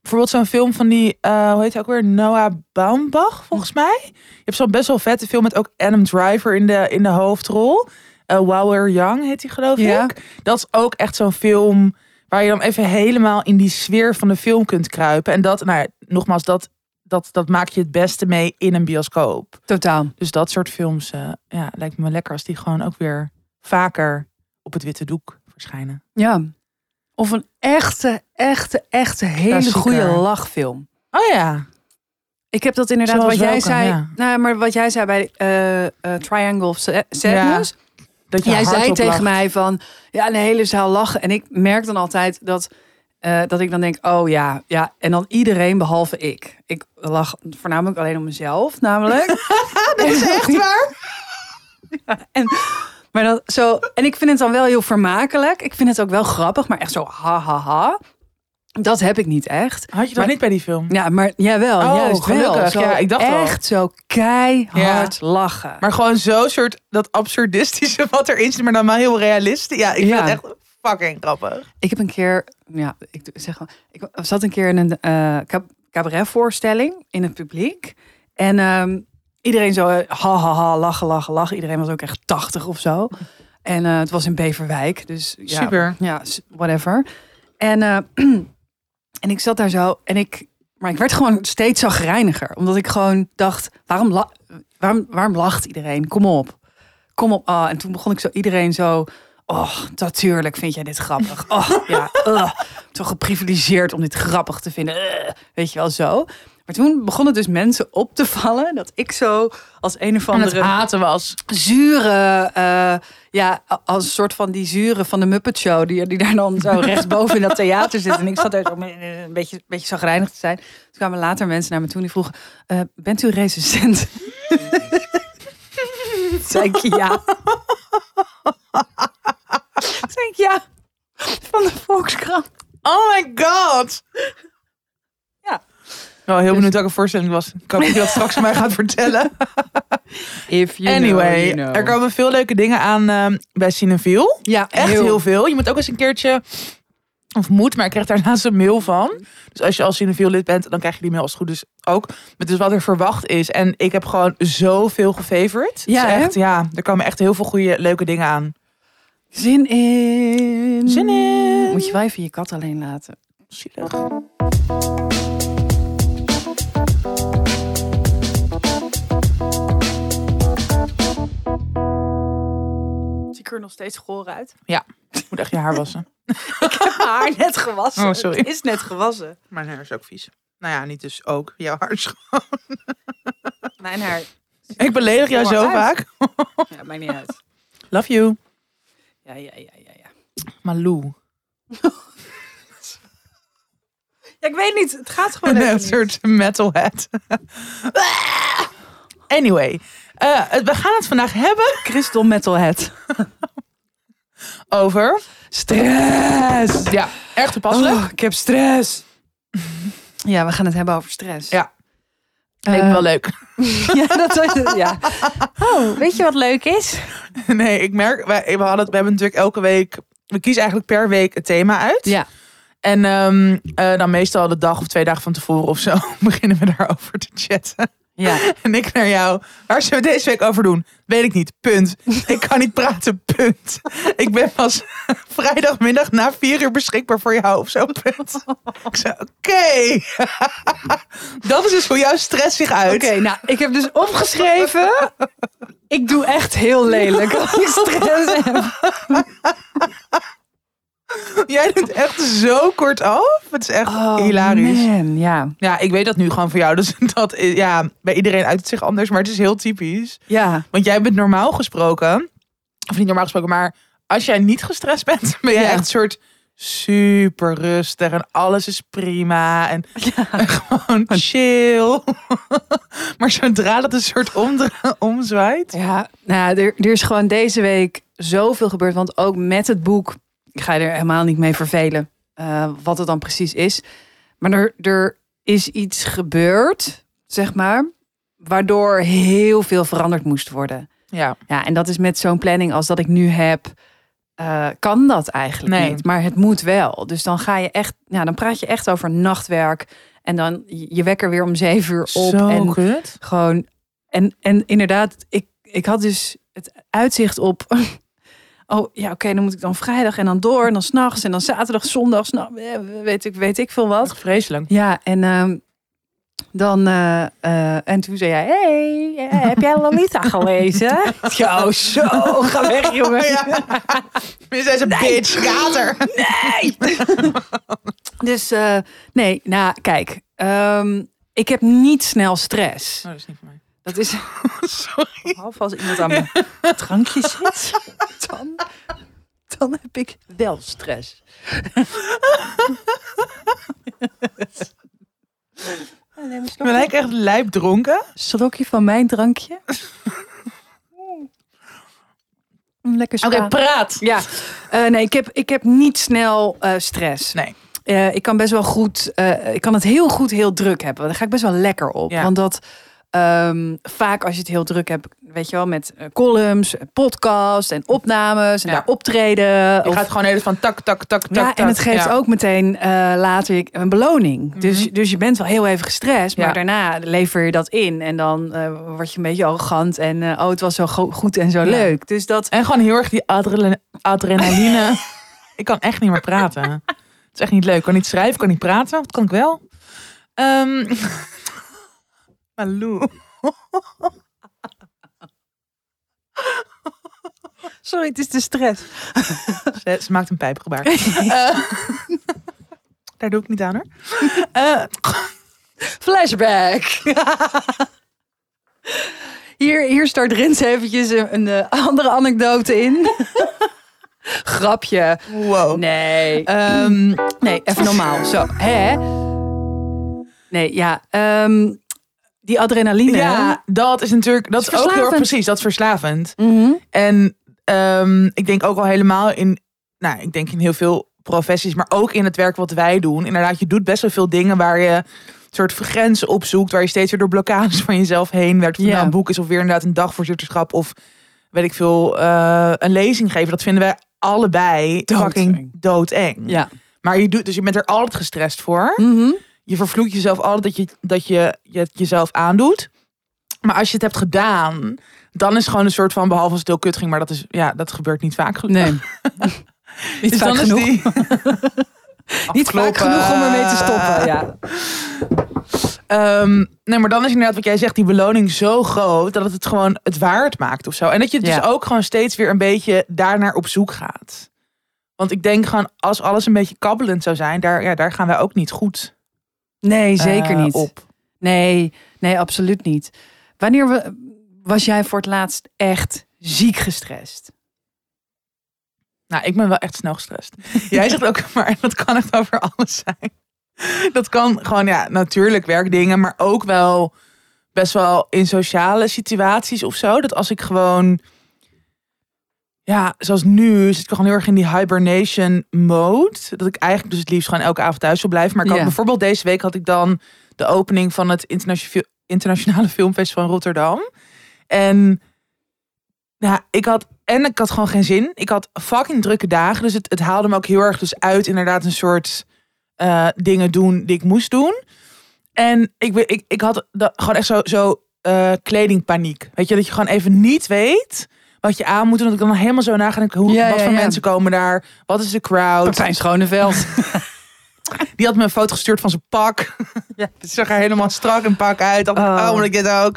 Speaker 1: bijvoorbeeld zo'n film van die, eh, hoe heet hij ook weer? Noah Baumbach, volgens mij. Je hebt zo'n best wel vette film met ook Adam Driver in de, in de hoofdrol. Eh While We're Young heet hij geloof
Speaker 2: Ja.
Speaker 1: ik. Dat is ook echt zo'n film waar je dan even helemaal in die sfeer van de film kunt kruipen. En dat, nou ja, nogmaals, dat, dat, dat maak je het beste mee in een bioscoop.
Speaker 2: Totaal.
Speaker 1: Dus dat soort films, eh, ja, lijkt me lekker als die gewoon ook weer vaker op het witte doek verschijnen.
Speaker 2: Ja. Of een echte, echte, echte hele
Speaker 1: Klassieker.
Speaker 2: goede lachfilm.
Speaker 1: Oh ja,
Speaker 2: Ik heb dat inderdaad
Speaker 1: Zoals
Speaker 2: wat jij
Speaker 1: welke,
Speaker 2: zei.
Speaker 1: ja.
Speaker 2: Nou, maar wat jij zei bij eh, eh, Triangle of Sa- Sadness.
Speaker 1: dat je
Speaker 2: Jij
Speaker 1: hardop
Speaker 2: zei tegen
Speaker 1: lacht.
Speaker 2: mij van, ja, een hele zaal lachen. En ik merk dan altijd dat, eh, dat ik dan denk, oh ja, ja. En dan iedereen behalve ik. Ik lach voornamelijk alleen om mezelf, namelijk. dat is echt waar? en, maar dat, zo, en ik vind het dan wel heel vermakelijk. Ik vind het ook wel grappig, maar echt zo ha, ha, ha. Dat heb ik niet echt.
Speaker 1: Had je dat
Speaker 2: Maar-
Speaker 1: niet bij die film?
Speaker 2: Ja, maar jawel,
Speaker 1: Oh,
Speaker 2: juist wel.
Speaker 1: gelukkig.
Speaker 2: Zo
Speaker 1: Ja, ik dacht al.
Speaker 2: echt zo keihard lachen.
Speaker 1: Maar gewoon zo'n soort, dat absurdistische wat erin zit, maar dan wel heel realistisch. Ja, ik
Speaker 2: Ja.
Speaker 1: vind het echt fucking grappig.
Speaker 2: Ik heb een keer, ja, ik doe- zeg wel, ik zat een keer in een eh cabaretvoorstelling in het publiek. En ehm, iedereen zo, eh, ha ha ha, lachen, lachen, lachen. Iedereen was ook echt 80 of zo. En eh, het was in Beverwijk, dus ja,
Speaker 1: Super.
Speaker 2: ja, s- whatever. En, eh, en ik zat daar zo en ik, maar ik werd gewoon steeds zagrijniger. Omdat ik gewoon dacht, waarom, la- waarom, waarom lacht iedereen? Kom op. Kom op. Ah, en toen begon ik zo iedereen zo oh, natuurlijk vind jij dit grappig. Oh, ja, ugh. Zo geprivilegeerd om dit grappig te vinden. Ugh. weet je wel, zo. Maar toen begonnen dus mensen op te vallen dat ik zo als een of
Speaker 1: Van het
Speaker 2: andere
Speaker 1: haten was.
Speaker 2: zure, eh, ja, als een soort van die zure van de Muppet Show, die, die daar dan zo rechtsboven in dat theater zit. En ik zat daar zo mee- eh, een beetje, een beetje zagrijnig te zijn. Toen kwamen later mensen naar me toe en die vroegen, eh, bent u resistent? Toen zei ik ja. Toen zei ik ja, van de Volkskrant.
Speaker 1: Oh my god.
Speaker 2: Ja.
Speaker 1: Wel heel
Speaker 2: Dus-
Speaker 1: benieuwd welke voorstelling het was. Ik hoop dat je dat straks aan mij gaat vertellen.
Speaker 2: If you
Speaker 1: anyway, er komen veel leuke dingen aan ehm, bij Cineville.
Speaker 2: ja,
Speaker 1: Echt heel. veel. Je moet ook eens een keertje... Of moet, maar ik krijg daar laatst een mail van. Dus als je als Cineville lid bent, dan krijg je die mail als het goed is ook. Met dus wat er verwacht is. En ik heb gewoon zoveel gefavored.
Speaker 2: Ja,
Speaker 1: Dus
Speaker 2: hè?
Speaker 1: echt, ja, er komen echt heel veel goede, leuke dingen aan.
Speaker 2: Zin in.
Speaker 1: Zin in.
Speaker 2: Mm. Moet je wel even je kat alleen laten.
Speaker 1: Zielig.
Speaker 2: Zie ik er nog steeds goor uit?
Speaker 1: Ik moet echt je haar wassen.
Speaker 2: haar net gewassen.
Speaker 1: Oh, sorry. Het
Speaker 2: is net gewassen.
Speaker 1: Mijn haar is ook vies. Nou ja, niet dus ook. Jouw haar is gewoon-
Speaker 2: Mijn haar.
Speaker 1: Ik beledig jou
Speaker 2: Kom
Speaker 1: zo
Speaker 2: maar uit.
Speaker 1: vaak.
Speaker 2: Ja, maakt niet uit.
Speaker 1: Love you.
Speaker 2: Ja, ja, ja, ja, ja.
Speaker 1: Malou.
Speaker 2: Ja, ik weet niet. Het gaat gewoon even
Speaker 1: Een
Speaker 2: niet.
Speaker 1: soort metalhead. anyway. eh, het- we gaan het vandaag hebben
Speaker 2: Crystal metalhead.
Speaker 1: over...
Speaker 2: Stress.
Speaker 1: Ja, erg toepasselijk.
Speaker 2: Oh, ik heb stress. Ja, we gaan het hebben over stress. Eh,
Speaker 1: Ja. Leek me wel leuk.
Speaker 2: ja, dat was, ja. Oh, weet je wat leuk is?
Speaker 1: Nee, ik merk... Wij, we, hadden, het- we hebben natuurlijk elke week... We kiezen eigenlijk per week het thema uit.
Speaker 2: Ja.
Speaker 1: En ehm, eh, dan meestal de dag of twee dagen van tevoren of zo... beginnen we daarover te chatten.
Speaker 2: Ja.
Speaker 1: En ik naar jou. Waar zullen we deze week over doen? Weet ik niet. Punt. Ik kan niet praten. Punt. Ik ben pas vrijdagmiddag na vier uur beschikbaar voor jou of zo. Punt. Ik zei, oké. Dat is dus voor jou stress zich uit.
Speaker 2: Oké, nou, ik heb dus opgeschreven. Ik doe echt heel lelijk als ik stress heb.
Speaker 1: Jij doet echt zo kort af. Het is echt hilarisch.
Speaker 2: Oh, man, ja.
Speaker 1: Ja, ik weet dat nu gewoon voor jou. Dus dat is, ja, bij iedereen uit het zich anders. Maar het is heel typisch.
Speaker 2: Ja.
Speaker 1: Want jij bent normaal gesproken, of niet normaal gesproken, maar als jij niet gestrest bent, ben jij
Speaker 2: Ja.
Speaker 1: echt een soort super rustig en alles is prima en, en gewoon chill. maar zodra dat een soort omdra- omzwaait.
Speaker 2: Ja, nou, ja, er, er is gewoon deze week zoveel gebeurd. Want ook met het boek, ik ga je er helemaal niet mee vervelen eh, wat het dan precies is. Maar er, er is iets gebeurd, zeg maar, waardoor heel veel veranderd moest worden.
Speaker 1: Ja,
Speaker 2: Ja, en dat is met zo'n planning als dat ik nu heb, eh, kan dat eigenlijk
Speaker 1: Nee.
Speaker 2: niet. Maar het moet wel. Dus dan ga je echt, nou, dan praat je echt over nachtwerk. En dan je je wekker weer om zeven uur op.
Speaker 1: zo
Speaker 2: en
Speaker 1: kut.
Speaker 2: gewoon. En, en inderdaad, ik, ik had dus het uitzicht op. Oh ja, oké, dan moet ik dan vrijdag en dan door. En dan s'nachts en dan zaterdag, zondag, 's nachts, eh, weet ik, weet ik veel wat.
Speaker 1: Echt vreselijk.
Speaker 2: Ja, en ehm, dan. eh, eh, en toen zei jij: Hey, eh, heb jij Lolita gelezen? Yo, oh, zo, ga weg, jongen.
Speaker 1: Je zei ze bitch, kater.
Speaker 2: Dus eh, nee, nou, kijk. ehm, ik heb niet snel stress.
Speaker 1: dat is niet voor mij.
Speaker 2: Dat is.
Speaker 1: Sorry.
Speaker 2: Behalve als iemand aan mijn drankje zit, dan, dan heb ik wel stress. Neem een
Speaker 1: Ik ben
Speaker 2: slokje.
Speaker 1: lijkt echt lijp dronken.
Speaker 2: Slokje van mijn drankje. Mm, Lekker spa.
Speaker 1: praat.
Speaker 2: ja, Eh, nee, ik heb, ik heb niet snel eh, stress.
Speaker 1: Nee.
Speaker 2: Eh, ik kan best wel goed, eh, ik kan het heel goed heel druk hebben. Daar ga ik best wel lekker op.
Speaker 1: Ja.
Speaker 2: Want dat ehm, vaak als je het heel druk hebt, weet je wel, met eh, columns, eh, podcast en opnames en
Speaker 1: Ja.
Speaker 2: daar optreden.
Speaker 1: Je
Speaker 2: of-
Speaker 1: gaat gewoon even van tak, tak, tak, tak,
Speaker 2: ja,
Speaker 1: tak.
Speaker 2: en het geeft
Speaker 1: Ja. Mhm.
Speaker 2: ook meteen eh, later je- een beloning. dus, dus je bent wel heel even gestrest, maar
Speaker 1: Ja.
Speaker 2: daarna lever je dat in. En dan eh, word je een beetje arrogant en eh, oh, het was zo go- goed en zo
Speaker 1: Ja.
Speaker 2: leuk. Dus dat,
Speaker 1: En gewoon heel erg die adrena- adrenaline. ik kan echt niet meer praten. Het is echt niet leuk. Ik kan niet schrijven, ik kan niet praten. Dat kan ik wel. Ehm Malou.
Speaker 2: Sorry, het is de stress.
Speaker 1: Ze, ze maakt een pijpgebaar. Eh, daar doe ik niet aan hoor. Eh,
Speaker 2: Flashback. hier, hier start Rins eventjes een, een, eh, andere anekdote in. Grapje.
Speaker 1: wow.
Speaker 2: Nee.
Speaker 1: Ehm,
Speaker 2: Nee, even normaal. Zo, hè? Nee, ja. ehm, die adrenaline.
Speaker 1: ja, dat is natuurlijk. Dat
Speaker 2: Is
Speaker 1: is, ook heel erg
Speaker 2: verslavend.
Speaker 1: precies. Dat is verslavend.
Speaker 2: Mhm.
Speaker 1: En ehm, ik denk ook al helemaal in, nou, ik denk in heel veel professies, maar ook in het werk wat wij doen. Inderdaad, je doet best wel veel dingen waar je een soort grenzen opzoekt, waar je steeds weer door blokkades van jezelf heen werkt. Of het
Speaker 2: Ja.
Speaker 1: nou een boek is of weer inderdaad een dagvoorzitterschap of weet ik veel, eh, een lezing geven. Dat vinden wij allebei
Speaker 2: Doodeng.
Speaker 1: fucking doodeng.
Speaker 2: Ja.
Speaker 1: Maar je doet, dus je bent er altijd gestrest voor
Speaker 2: Mhm.
Speaker 1: je vervloekt jezelf altijd dat je, dat je, je het jezelf aandoet. Maar als je het hebt gedaan, dan is het gewoon een soort van, behalve als het heel kut ging, maar dat, is, ja, dat gebeurt niet vaak genoeg.
Speaker 2: Nee. Niet
Speaker 1: Dus
Speaker 2: vaak
Speaker 1: dan is
Speaker 2: genoeg.
Speaker 1: die-
Speaker 2: Niet vaak
Speaker 1: Afkloppen.
Speaker 2: genoeg om ermee te
Speaker 1: eh,
Speaker 2: stoppen. Ja.
Speaker 1: Ehm, nee, maar dan is inderdaad wat jij zegt, die beloning zo groot dat het het gewoon het waard maakt of zo. En dat je
Speaker 2: Ja.
Speaker 1: dus ook gewoon steeds weer een beetje daarnaar op zoek gaat. Want ik denk gewoon, als alles een beetje kabbelend zou zijn, daar, ja, daar gaan wij ook niet goed
Speaker 2: Nee,
Speaker 1: eh,
Speaker 2: zeker niet.
Speaker 1: op.
Speaker 2: Nee, nee, absoluut niet. Wanneer we- was jij voor het laatst echt ziek gestrest?
Speaker 1: Nou, ik ben wel echt snel gestrest. Jij zegt ook, maar dat kan echt over alles zijn. Dat kan gewoon, ja, natuurlijk werkdingen, maar ook wel best wel in sociale situaties of zo. Dat als ik gewoon, ja, zoals nu zit ik gewoon heel erg in die hibernation mode. Dat ik eigenlijk dus het liefst gewoon elke avond thuis wil blijven. Maar ik had
Speaker 2: Ja.
Speaker 1: bijvoorbeeld deze week had ik dan de opening van het internationale, internationale filmfestival in Rotterdam. En ja, Nou, ik had en ik had gewoon geen zin. Ik had fucking drukke dagen, dus het, het haalde me ook heel erg dus uit inderdaad een soort eh, dingen doen die ik moest doen. En ik, we- ik, ik had da- gewoon echt zo, zo eh, kledingpaniek. Weet je, dat je gewoon even niet weet wat je aan moet doen. Dat ik dan helemaal zo na ga denken, hoe,
Speaker 2: Ja,
Speaker 1: wat
Speaker 2: ja,
Speaker 1: voor
Speaker 2: ja.
Speaker 1: mensen komen daar? Wat is de crowd?
Speaker 2: Schoneveld.
Speaker 1: Die had me een foto gestuurd van zijn pak.
Speaker 2: Ja.
Speaker 1: Het zag er helemaal strak en pak uit. Dacht ik,
Speaker 2: Oh.
Speaker 1: oh, moet ik dit ook?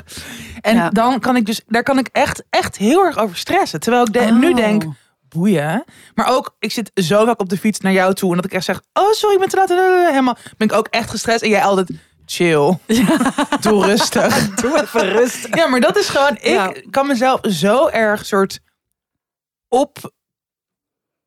Speaker 1: En
Speaker 2: Ja.
Speaker 1: dan kan ik dus, daar kan ik echt, echt heel erg over stressen. Terwijl ik de-
Speaker 2: Oh.
Speaker 1: nu denk, boeien. Maar ook, ik zit zo vaak op de fiets naar jou toe. En dat ik echt zeg, oh sorry, ik ben te laat. Eh, Helemaal, ben ik ook echt gestrest. En jij altijd, chill. Doe rustig.
Speaker 2: Doe even rustig.
Speaker 1: Ja, maar dat is gewoon, ik
Speaker 2: Ja.
Speaker 1: kan mezelf zo erg soort op...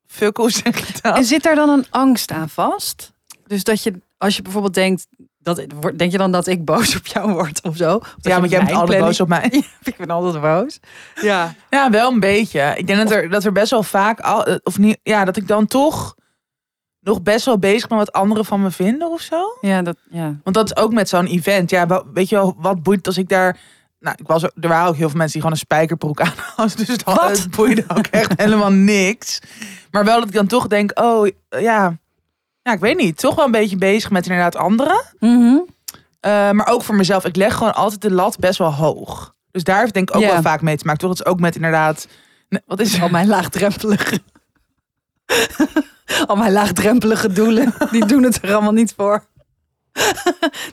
Speaker 1: Fuck, hoe zeg je dat?
Speaker 2: En zit daar dan een angst aan vast? Dus dat je, als je bijvoorbeeld denkt, dat, denk je dan dat ik boos op jou word of zo? Of dat
Speaker 1: Ja,
Speaker 2: je
Speaker 1: want jij bent
Speaker 2: mijn
Speaker 1: altijd
Speaker 2: planning-
Speaker 1: boos op mij.
Speaker 2: ik ben altijd boos. Ja.
Speaker 1: Ja, wel een beetje. Ik denk dat er, dat er best wel vaak, al, eh, of niet, ja, dat ik dan toch nog best wel bezig ben wat anderen van me vinden of zo.
Speaker 2: Ja, dat, ja.
Speaker 1: Want dat is ook met zo'n event. Ja, wa- weet je wel, wat boeit het als ik daar. Nou, ik was, er er waren ook heel veel mensen die gewoon een spijkerbroek aan hadden. Dus dat
Speaker 2: Wat?
Speaker 1: het boeide ook echt helemaal niks. Maar wel dat ik dan toch denk, oh ja, ja, ik weet niet. Toch wel een beetje bezig met inderdaad anderen.
Speaker 2: Mhm.
Speaker 1: Eh, maar ook voor mezelf. Ik leg gewoon altijd de lat best wel hoog. Dus daar heeft het denk ik ook
Speaker 2: Ja.
Speaker 1: wel vaak mee te maken. Toch? Dat is ook met inderdaad... Nee, Wat is
Speaker 2: Al mijn laagdrempelige. Al mijn laagdrempelige doelen, die doen het er allemaal niet voor.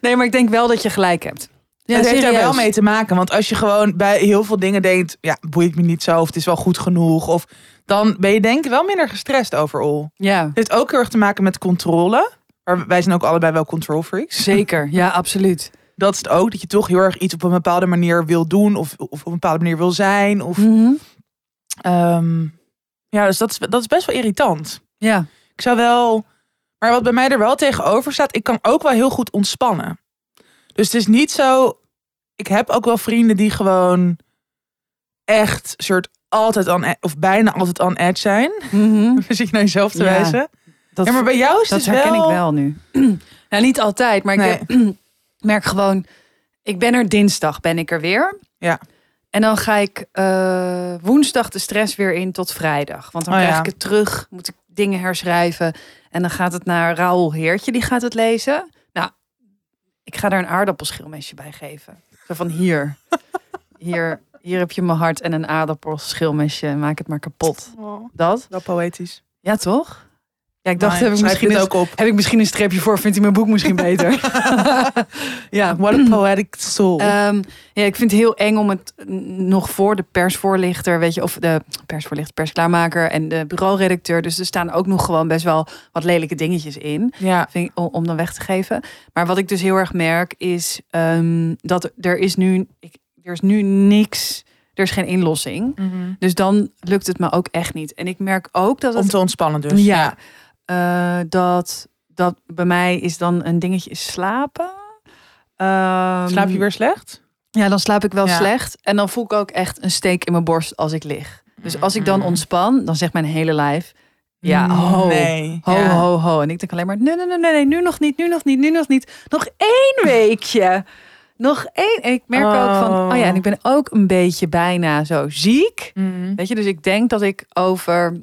Speaker 2: nee, maar ik denk wel dat je gelijk hebt. Ja,
Speaker 1: het heeft
Speaker 2: serieus.
Speaker 1: er wel mee te maken. Want als je gewoon bij heel veel dingen denkt... Ja, boeit me niet zo. Of het is wel goed genoeg. Of dan ben je denk ik wel minder gestrest overal.
Speaker 2: Ja,
Speaker 1: Het heeft ook heel erg te maken met controle. Maar wij zijn ook allebei wel control freaks.
Speaker 2: zeker. Ja, absoluut.
Speaker 1: Dat is het ook. Dat je toch heel erg iets op een bepaalde manier wil doen. Of, of op een bepaalde manier wil zijn. Of,
Speaker 2: Hm.
Speaker 1: ehm, ja, dus dat is, dat is best wel irritant.
Speaker 2: Ja.
Speaker 1: Ik zou wel. Maar wat bij mij er wel tegenover staat, ik kan ook wel heel goed ontspannen. Dus het is niet zo. Ik heb ook wel vrienden die gewoon echt soort altijd on e- of bijna altijd on edge zijn.
Speaker 2: Mhm.
Speaker 1: Dan zit je naar jezelf te
Speaker 2: Ja,
Speaker 1: wijzen.
Speaker 2: Dat
Speaker 1: Ja, maar bij jou is
Speaker 2: Dat
Speaker 1: het
Speaker 2: herken
Speaker 1: wel...
Speaker 2: ik wel nu. nou, niet altijd, maar ik
Speaker 1: Nee.
Speaker 2: ben- merk gewoon... Ik ben er dinsdag, ben ik er weer.
Speaker 1: Ja.
Speaker 2: En dan ga ik eh, woensdag de stress weer in tot vrijdag. Want dan
Speaker 1: Oh,
Speaker 2: krijg
Speaker 1: ja.
Speaker 2: ik het terug, moet ik dingen herschrijven. En dan gaat het naar Raoul Heertje, die gaat het lezen. Nou, ik ga daar een aardappelschilmesje bij geven. Zo van hier. hier, hier heb je mijn hart en een aardappelschilmesje. Maak het maar kapot.
Speaker 1: Oh,
Speaker 2: Dat.
Speaker 1: wel poëtisch.
Speaker 2: Ja, toch? Ja, ik dacht,
Speaker 1: Maar
Speaker 2: heb ik,
Speaker 1: schrijf je
Speaker 2: misschien
Speaker 1: dit
Speaker 2: een,
Speaker 1: ook op.
Speaker 2: heb ik misschien een streepje voor? Vindt hij mijn boek misschien beter? ja.
Speaker 1: What a poetic soul.
Speaker 2: Ehm, ja, ik vind het heel eng om het n- nog voor de persvoorlichter, weet je, of de persvoorlichter, persklaarmaker en de bureauredacteur. Dus er staan ook nog gewoon best wel wat lelijke dingetjes in.
Speaker 1: ja.
Speaker 2: vind ik, om, om dan weg te geven. Maar wat ik dus heel erg merk is ehm, dat er is nu, ik, er is nu niks, er is geen inlossing. Dus dan lukt het me ook echt niet. En ik merk ook dat het,
Speaker 1: mhm. Om te ontspannen dus.
Speaker 2: ja, eh, dat, dat bij mij is dan een dingetje is slapen. Ehm,
Speaker 1: Slaap je weer slecht?
Speaker 2: Ja, dan slaap ik wel
Speaker 1: Ja.
Speaker 2: slecht. En dan voel ik ook echt een steek in mijn borst als ik lig. Dus als ik dan
Speaker 1: Mhm.
Speaker 2: ontspan, dan zegt mijn hele lijf, ja, ho.
Speaker 1: Mm, Nee.
Speaker 2: Ho,
Speaker 1: ja.
Speaker 2: ho, ho. En ik denk alleen maar, nee, nee, nee, nee, nee, nu nog niet, nu nog niet, nu nog niet. Nog één weekje. Nog één. En ik merk ook van, oh ja, en ik ben ook een beetje bijna zo ziek.
Speaker 1: Mhm.
Speaker 2: Weet je, dus ik denk dat ik over,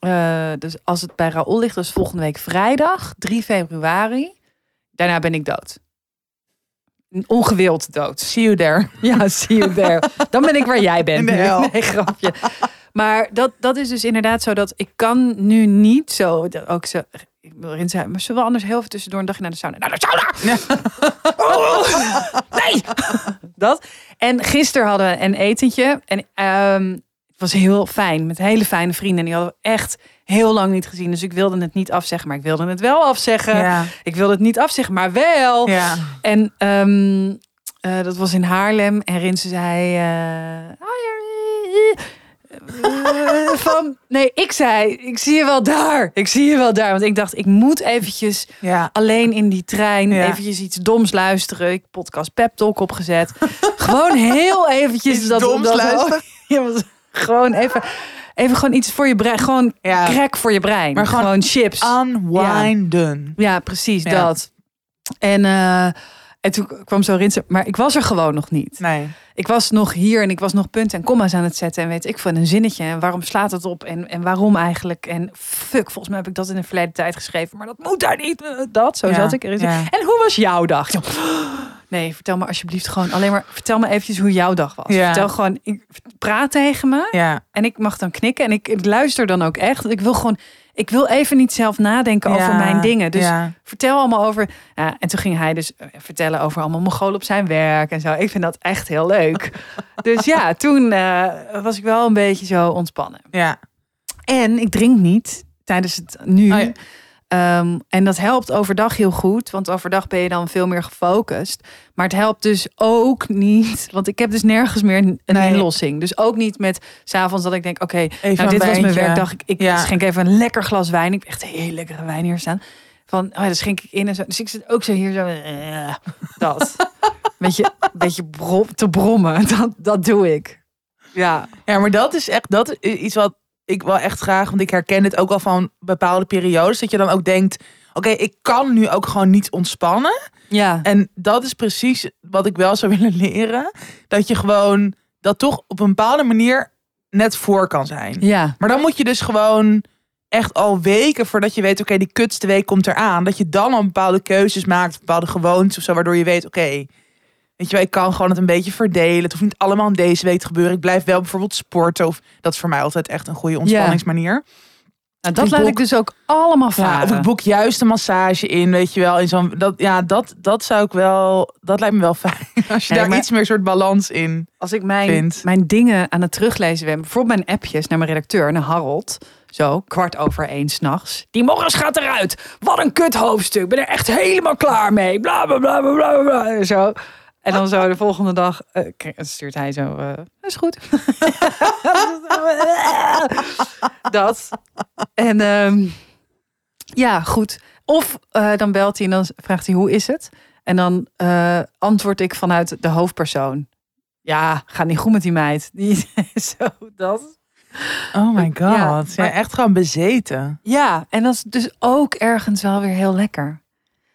Speaker 2: eh, dus als het bij Raoul ligt, dus volgende week vrijdag, 3 februari. Daarna ben ik dood. Ongewild dood.
Speaker 1: See you there.
Speaker 2: Ja, see you there. Dan ben ik waar jij bent.
Speaker 1: In de
Speaker 2: nu.
Speaker 1: hel.
Speaker 2: Nee, grapje. Maar dat, dat is dus inderdaad zo dat ik kan nu niet zo... dat Ook zo ik wil erin zijn, maar zullen we anders heel even tussendoor een dagje naar de sauna? Naar de sauna! Oh, nee! Dat. En gisteren hadden we een etentje. En ehm, het was heel fijn. Met hele fijne vrienden. En die hadden we echt heel lang niet gezien. Dus ik wilde het niet afzeggen. Maar ik wilde het wel afzeggen.
Speaker 1: Ja.
Speaker 2: Ik wilde het niet afzeggen, maar wel.
Speaker 1: Ja.
Speaker 2: En ehm, eh, dat was in Haarlem. En Rinse zei... eh, eh, van, nee, ik zei, ik zie je wel daar. Ik zie je wel daar. Want ik dacht, ik moet eventjes
Speaker 1: Ja.
Speaker 2: alleen in die trein
Speaker 1: Ja.
Speaker 2: eventjes iets doms luisteren. Ik podcast Pep Talk opgezet. gewoon heel eventjes.
Speaker 1: Iets doms luisteren?
Speaker 2: Ja, want gewoon even, even gewoon iets voor je brein. Gewoon
Speaker 1: Ja.
Speaker 2: crack voor je brein.
Speaker 1: Maar gewoon
Speaker 2: chips.
Speaker 1: Unwinden.
Speaker 2: Ja, precies
Speaker 1: Ja.
Speaker 2: dat. En, eh, en toen kwam zo Rinsen, maar ik was er gewoon nog niet.
Speaker 1: Nee.
Speaker 2: Ik was nog hier en ik was nog punten en komma's aan het zetten. En weet ik van een zinnetje. En waarom slaat het op? En, en waarom eigenlijk? En fuck, volgens mij heb ik dat in de verleden tijd geschreven. Maar dat moet daar niet. eh, Dat, zo
Speaker 1: Ja,
Speaker 2: zat ik erin.
Speaker 1: ja.
Speaker 2: En hoe was jouw dag? Ja, Nee, vertel me alsjeblieft gewoon. Alleen maar vertel me eventjes hoe jouw dag was.
Speaker 1: Ja.
Speaker 2: Vertel gewoon, ik, praat tegen me.
Speaker 1: Ja.
Speaker 2: En ik mag dan knikken en ik, ik luister dan ook echt. Ik wil gewoon, ik wil even niet zelf nadenken over
Speaker 1: Ja.
Speaker 2: mijn dingen. Dus
Speaker 1: Ja.
Speaker 2: vertel allemaal over. Ja, en toen ging hij dus eh, vertellen over allemaal Mongolen op zijn werk en zo. Ik vind dat echt heel leuk. dus ja, toen eh, was ik wel een beetje zo ontspannen.
Speaker 1: Ja.
Speaker 2: En ik drink niet tijdens het nu.
Speaker 1: Oh ja.
Speaker 2: Ehm, en dat helpt overdag heel goed, want overdag ben je dan veel meer gefocust. Maar het helpt dus ook niet, want ik heb dus nergens meer een een
Speaker 1: Nee.
Speaker 2: inlossing. Dus ook niet met s'avonds dat ik denk, oké,
Speaker 1: Even
Speaker 2: nou,
Speaker 1: een
Speaker 2: dit was mijn
Speaker 1: wijntje.
Speaker 2: werkdag. Ik, ik
Speaker 1: Ja.
Speaker 2: schenk even een lekker glas wijn. Ik heb echt heel lekkere wijn hier staan. Van, oh ja, dat schenk ik in en zo. Dus ik zit ook zo hier zo, eh, dat. beetje, beetje brom- te brommen, dat, dat doe ik. Ja,
Speaker 1: Ja, maar dat is echt dat is iets wat ik wel echt graag, want ik herken het ook al van bepaalde periodes, dat je dan ook denkt, oké, ik kan nu ook gewoon niet ontspannen.
Speaker 2: ja.
Speaker 1: En dat is precies wat ik wel zou willen leren, dat je gewoon dat toch op een bepaalde manier net voor kan zijn.
Speaker 2: Ja,
Speaker 1: Maar dan moet je dus gewoon echt al weken voordat je weet, oké, die kutste week komt eraan, dat je dan al bepaalde keuzes maakt, bepaalde gewoontes of zo, waardoor je weet, oké, weet je wel, ik kan gewoon het een beetje verdelen. Het hoeft niet allemaal in deze week te gebeuren. Ik blijf wel bijvoorbeeld sporten of dat is voor mij altijd echt een goede ontspanningsmanier.
Speaker 2: nou, dat
Speaker 1: Ik
Speaker 2: laat
Speaker 1: boek-
Speaker 2: ik dus ook allemaal
Speaker 1: Ja,
Speaker 2: varen.
Speaker 1: of ik boek juist een massage in, weet je wel, in zo'n dat ja, dat dat zou ik wel, dat lijkt me wel fijn als je
Speaker 2: Nee,
Speaker 1: daar
Speaker 2: maar-
Speaker 1: iets meer soort balans in.
Speaker 2: als ik mijn,
Speaker 1: vind.
Speaker 2: mijn dingen aan het teruglezen ben, bijvoorbeeld mijn appjes naar mijn redacteur, naar Harold, zo kwart over één s'nachts. Die morgens gaat eruit. Wat een kut hoofdstuk. Ik Ben er echt helemaal klaar mee. Bla bla bla bla bla bla. en Zo. En dan zo de volgende dag eh, k- stuurt hij zo. eh, Dat is goed. dat. En ehm, ja, goed. Of eh, dan belt hij en dan vraagt hij hoe is het? En dan eh, antwoord ik vanuit de hoofdpersoon. Ja, gaat niet goed met die meid. Die, zo, dat.
Speaker 1: Oh my god,
Speaker 2: Ja,
Speaker 1: ja,
Speaker 2: maar-
Speaker 1: echt gewoon bezeten.
Speaker 2: Ja, en dat is dus ook ergens wel weer heel lekker.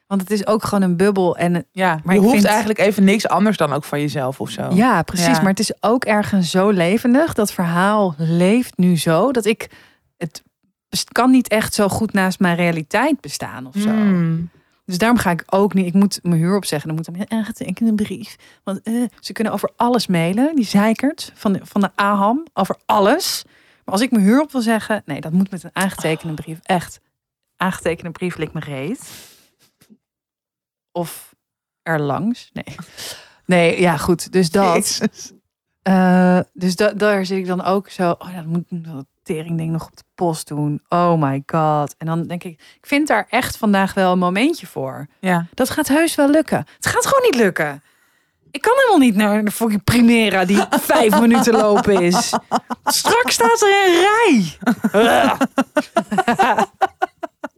Speaker 2: Want het is ook gewoon een bubbel. En,
Speaker 1: Ja,
Speaker 2: maar
Speaker 1: je
Speaker 2: ik
Speaker 1: hoeft
Speaker 2: vind-
Speaker 1: eigenlijk even niks anders dan ook van jezelf of zo.
Speaker 2: Oh. ja, precies.
Speaker 1: Ja.
Speaker 2: Maar het is ook ergens zo levendig. Dat verhaal leeft nu zo. Dat ik... Het best- kan niet echt zo goed naast mijn realiteit bestaan of zo.
Speaker 1: Mm.
Speaker 2: Dus daarom ga ik ook niet. Ik moet mijn huur opzeggen. Dan moet eh, ik echt ik een brief. Want eh, ze kunnen over alles mailen. Die zeikert van de, van de AHAM over alles. Maar als ik mijn huur op wil zeggen, nee, dat moet met een aangetekende brief. Echt. aangetekende brief lik me reet. Of er langs. Nee. Nee, ja, goed. Dus dat.
Speaker 1: Jezus.
Speaker 2: Eh, dus da- daar zit ik dan ook zo. Oh, ja, dan moet ik dat teringding nog op de post doen. Oh my god. En dan denk ik, ik vind daar echt vandaag wel een momentje voor.
Speaker 1: Ja.
Speaker 2: Dat gaat heus wel lukken. Het gaat gewoon niet lukken. Ik kan helemaal niet naar de fucking Primera die vijf minuten lopen is. Straks staat er een rij.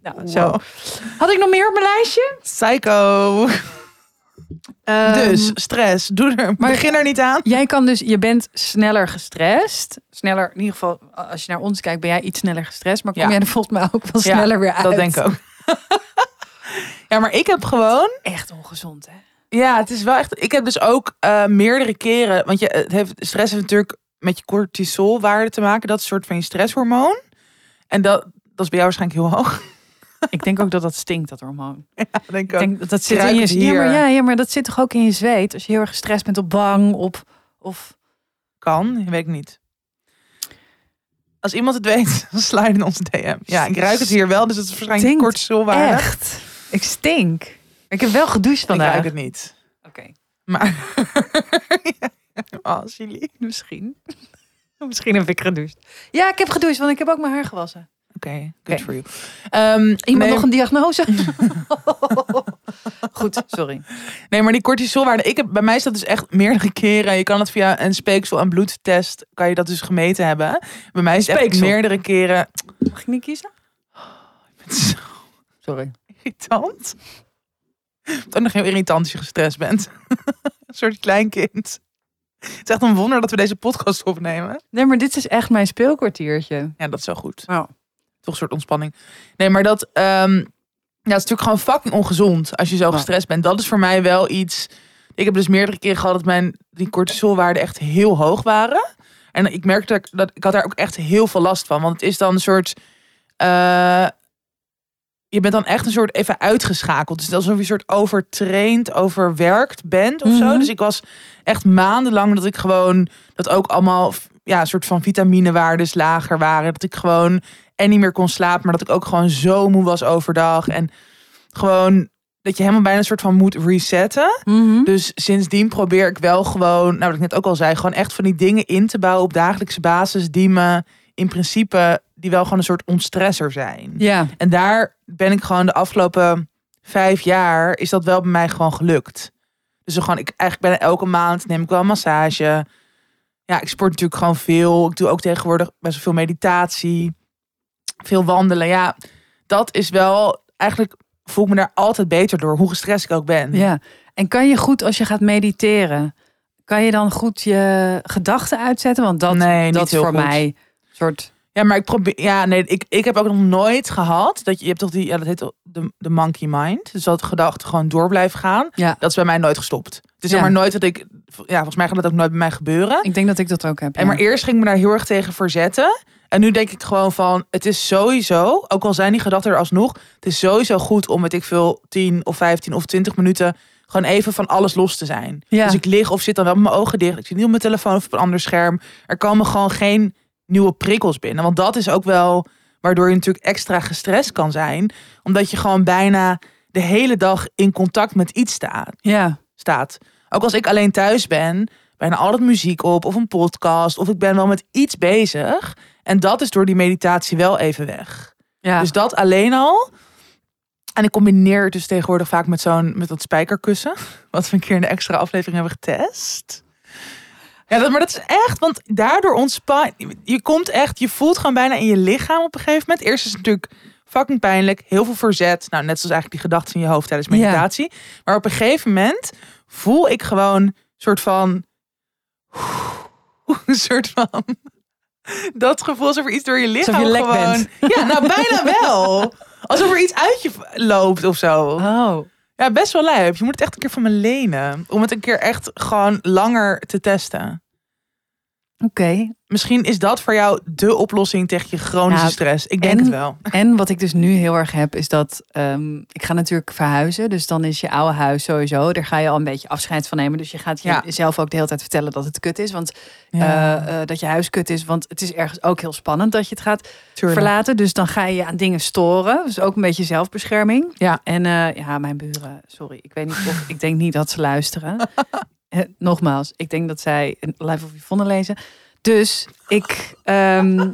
Speaker 2: nou, zo.
Speaker 1: Wow.
Speaker 2: Had ik nog meer op mijn lijstje?
Speaker 1: Psycho. dus
Speaker 2: Ehm,
Speaker 1: stress. Doe er.
Speaker 2: maar-
Speaker 1: begin er niet aan.
Speaker 2: Jij kan dus, je bent sneller gestrest. Sneller, in ieder geval, als je naar ons kijkt, ben jij iets sneller gestrest. Maar kom
Speaker 1: Ja.
Speaker 2: jij er volgens mij ook wel
Speaker 1: Ja,
Speaker 2: sneller weer uit.
Speaker 1: Dat denk ik ook. ja, maar ik heb gewoon.
Speaker 2: Echt ongezond, hè?
Speaker 1: Ja, het is wel echt. Ik heb dus ook eh, meerdere keren. Want je, het heeft, stress heeft natuurlijk met je cortisolwaarde te maken. Dat is een soort van je stresshormoon. En dat, dat is bij jou waarschijnlijk heel hoog.
Speaker 2: Ik denk ook dat dat stinkt, dat hormoon.
Speaker 1: Ja, denk
Speaker 2: Ik
Speaker 1: ook.
Speaker 2: denk dat dat zit in
Speaker 1: ruik
Speaker 2: je
Speaker 1: het
Speaker 2: ja, maar,
Speaker 1: hier.
Speaker 2: ja, ja, maar dat zit toch ook in je zweet? Als je heel erg gestrest bent op bang, op... Of,
Speaker 1: Kan, weet ik niet. Als iemand het weet, dan sla je in onze DM. Ja, ik ruik het hier wel, dus het is waarschijnlijk
Speaker 2: Stinkt
Speaker 1: cortisolwaarde.
Speaker 2: Echt? Ik stink. Ik heb wel gedoucht
Speaker 1: Ik
Speaker 2: vandaag.
Speaker 1: ruik
Speaker 2: Oké,
Speaker 1: het niet. Maar Oh, als jullie.
Speaker 2: misschien. misschien heb ik gedoucht. Ja, ik heb gedoucht, want ik heb ook mijn haar gewassen.
Speaker 1: Oké, good
Speaker 2: Oké.
Speaker 1: for you. Ehm,
Speaker 2: Iemand
Speaker 1: nee,
Speaker 2: nog een diagnose? Goed, sorry.
Speaker 1: nee, maar die cortisolwaarde. Ik heb, bij mij is dat dus echt meerdere keren. Je kan het via een speeksel- en bloedtest. Kan je dat dus gemeten hebben. Bij mij is het echt
Speaker 2: Speeksel.
Speaker 1: meerdere keren.
Speaker 2: Mag ik niet kiezen?
Speaker 1: Het is zo
Speaker 2: Sorry.
Speaker 1: irritant. Het is ook nog heel irritant als je gestrest bent. een soort kleinkind. Het is echt een wonder dat we deze podcast opnemen.
Speaker 2: Nee, maar dit is echt mijn speelkwartiertje.
Speaker 1: Ja, dat is wel goed.
Speaker 2: Nou,
Speaker 1: toch een soort ontspanning. Nee, maar dat, ehm, ja, het is natuurlijk gewoon fucking ongezond als je zo
Speaker 2: Ja.
Speaker 1: gestrest bent. Dat is voor mij wel iets. Ik heb dus meerdere keren gehad dat mijn die cortisolwaarden echt heel hoog waren. En ik merkte dat, ik- dat ik had daar ook echt heel veel last van. Want het is dan een soort. eh, je bent dan echt een soort even uitgeschakeld. Dus het is alsof je een soort overtraind, overwerkt bent of zo.
Speaker 2: Mhm.
Speaker 1: Dus ik was echt maandenlang dat ik gewoon dat ook allemaal ja, een soort van vitaminewaardes lager waren. Dat ik gewoon en niet meer kon slapen, maar dat ik ook gewoon zo moe was overdag. En gewoon dat je helemaal bijna een soort van moet resetten.
Speaker 2: Mhm.
Speaker 1: Dus sindsdien probeer ik wel gewoon, nou wat ik net ook al zei, gewoon echt van die dingen in te bouwen op dagelijkse basis die me in principe, die wel gewoon een soort ontstresser zijn.
Speaker 2: ja.
Speaker 1: En daar ben ik gewoon de afgelopen vijf jaar is dat wel bij mij gewoon gelukt. Dus dan gewoon, ik eigenlijk bijna elke maand neem ik wel een massage. Ja, ik sport natuurlijk gewoon veel. Ik doe ook tegenwoordig best wel veel meditatie. Veel wandelen. Ja, dat is wel eigenlijk voel ik me daar altijd beter door, hoe gestrest ik ook ben.
Speaker 2: ja. En kan je goed als je gaat mediteren, kan je dan goed je gedachten uitzetten? Want dat,
Speaker 1: Nee, niet
Speaker 2: dat is
Speaker 1: heel
Speaker 2: voor
Speaker 1: goed.
Speaker 2: mij een soort...
Speaker 1: Ja, maar ik probeer. Ja, nee, ik, ik heb ook nog nooit gehad dat je, je hebt toch die, ja, dat heet toch de, de monkey mind. Dus dat gedachten gewoon door blijven gaan.
Speaker 2: Ja.
Speaker 1: Dat is bij mij nooit gestopt. Het is
Speaker 2: Ja.
Speaker 1: zeg maar nooit dat ik, ja, volgens mij gaat dat ook nooit bij mij gebeuren.
Speaker 2: Ik denk dat ik dat ook heb.
Speaker 1: En maar eerst ging ik me daar heel erg tegen verzetten. En nu denk ik gewoon van, het is sowieso, ook al zijn die gedachten er alsnog, het is sowieso goed om, met ik veel, 10 of 15 of 20 minuten gewoon even van alles los te zijn.
Speaker 2: Ja.
Speaker 1: Dus ik lig of zit dan wel met mijn ogen dicht. Ik zit niet op mijn telefoon of op een ander scherm. Er komen gewoon geen nieuwe prikkels binnen. Want dat is ook wel waardoor je natuurlijk extra gestrest kan zijn. Omdat je gewoon bijna de hele dag in contact met iets staat
Speaker 2: Ja,
Speaker 1: staat. Ook als ik alleen thuis ben, bijna altijd muziek op of een podcast of ik ben wel met iets bezig. En dat is door die meditatie wel even weg.
Speaker 2: ja.
Speaker 1: Dus dat alleen al. En ik combineer het dus tegenwoordig vaak met zo'n met dat spijkerkussen, wat we een keer in de extra aflevering hebben getest. Ja, dat, maar dat is echt, want daardoor ontspan je. Je komt echt, je voelt gewoon bijna in je lichaam op een gegeven moment. Eerst is het natuurlijk fucking pijnlijk, heel veel verzet. Nou, net zoals eigenlijk die gedachten in je hoofd tijdens
Speaker 2: Ja.
Speaker 1: meditatie. Maar op een gegeven moment voel ik gewoon soort van een soort van dat gevoel alsof er iets door je lichaam
Speaker 2: je lek
Speaker 1: gewoon ja nou bijna wel alsof er iets uit je v- loopt of zo
Speaker 2: Oh.
Speaker 1: ja best wel lijp je moet het echt een keer van me lenen om het een keer echt gewoon langer te testen
Speaker 2: Oké.
Speaker 1: Misschien is dat voor jou de oplossing tegen je chronische
Speaker 2: Nou,
Speaker 1: stress. Ik denk
Speaker 2: en-
Speaker 1: het wel.
Speaker 2: En wat ik dus nu heel erg heb, is dat ehm, ik ga natuurlijk verhuizen. Dus dan is je oude huis sowieso. Daar ga je al een beetje afscheid van nemen. Dus je gaat
Speaker 1: Ja.
Speaker 2: jezelf ook de hele tijd vertellen dat het kut is. Want
Speaker 1: Ja,
Speaker 2: eh, eh, dat je huis kut is. Want het is ergens ook heel spannend dat je het gaat
Speaker 1: tuurlijk.
Speaker 2: verlaten. Dus dan ga je je aan dingen storen. Dus ook een beetje zelfbescherming.
Speaker 1: Ja.
Speaker 2: En eh, ja, mijn buren, sorry. Ik weet niet of ik denk niet dat ze luisteren. Eh, Nogmaals, ik denk dat zij een Life of Yvonne lezen. Dus ik, ehm,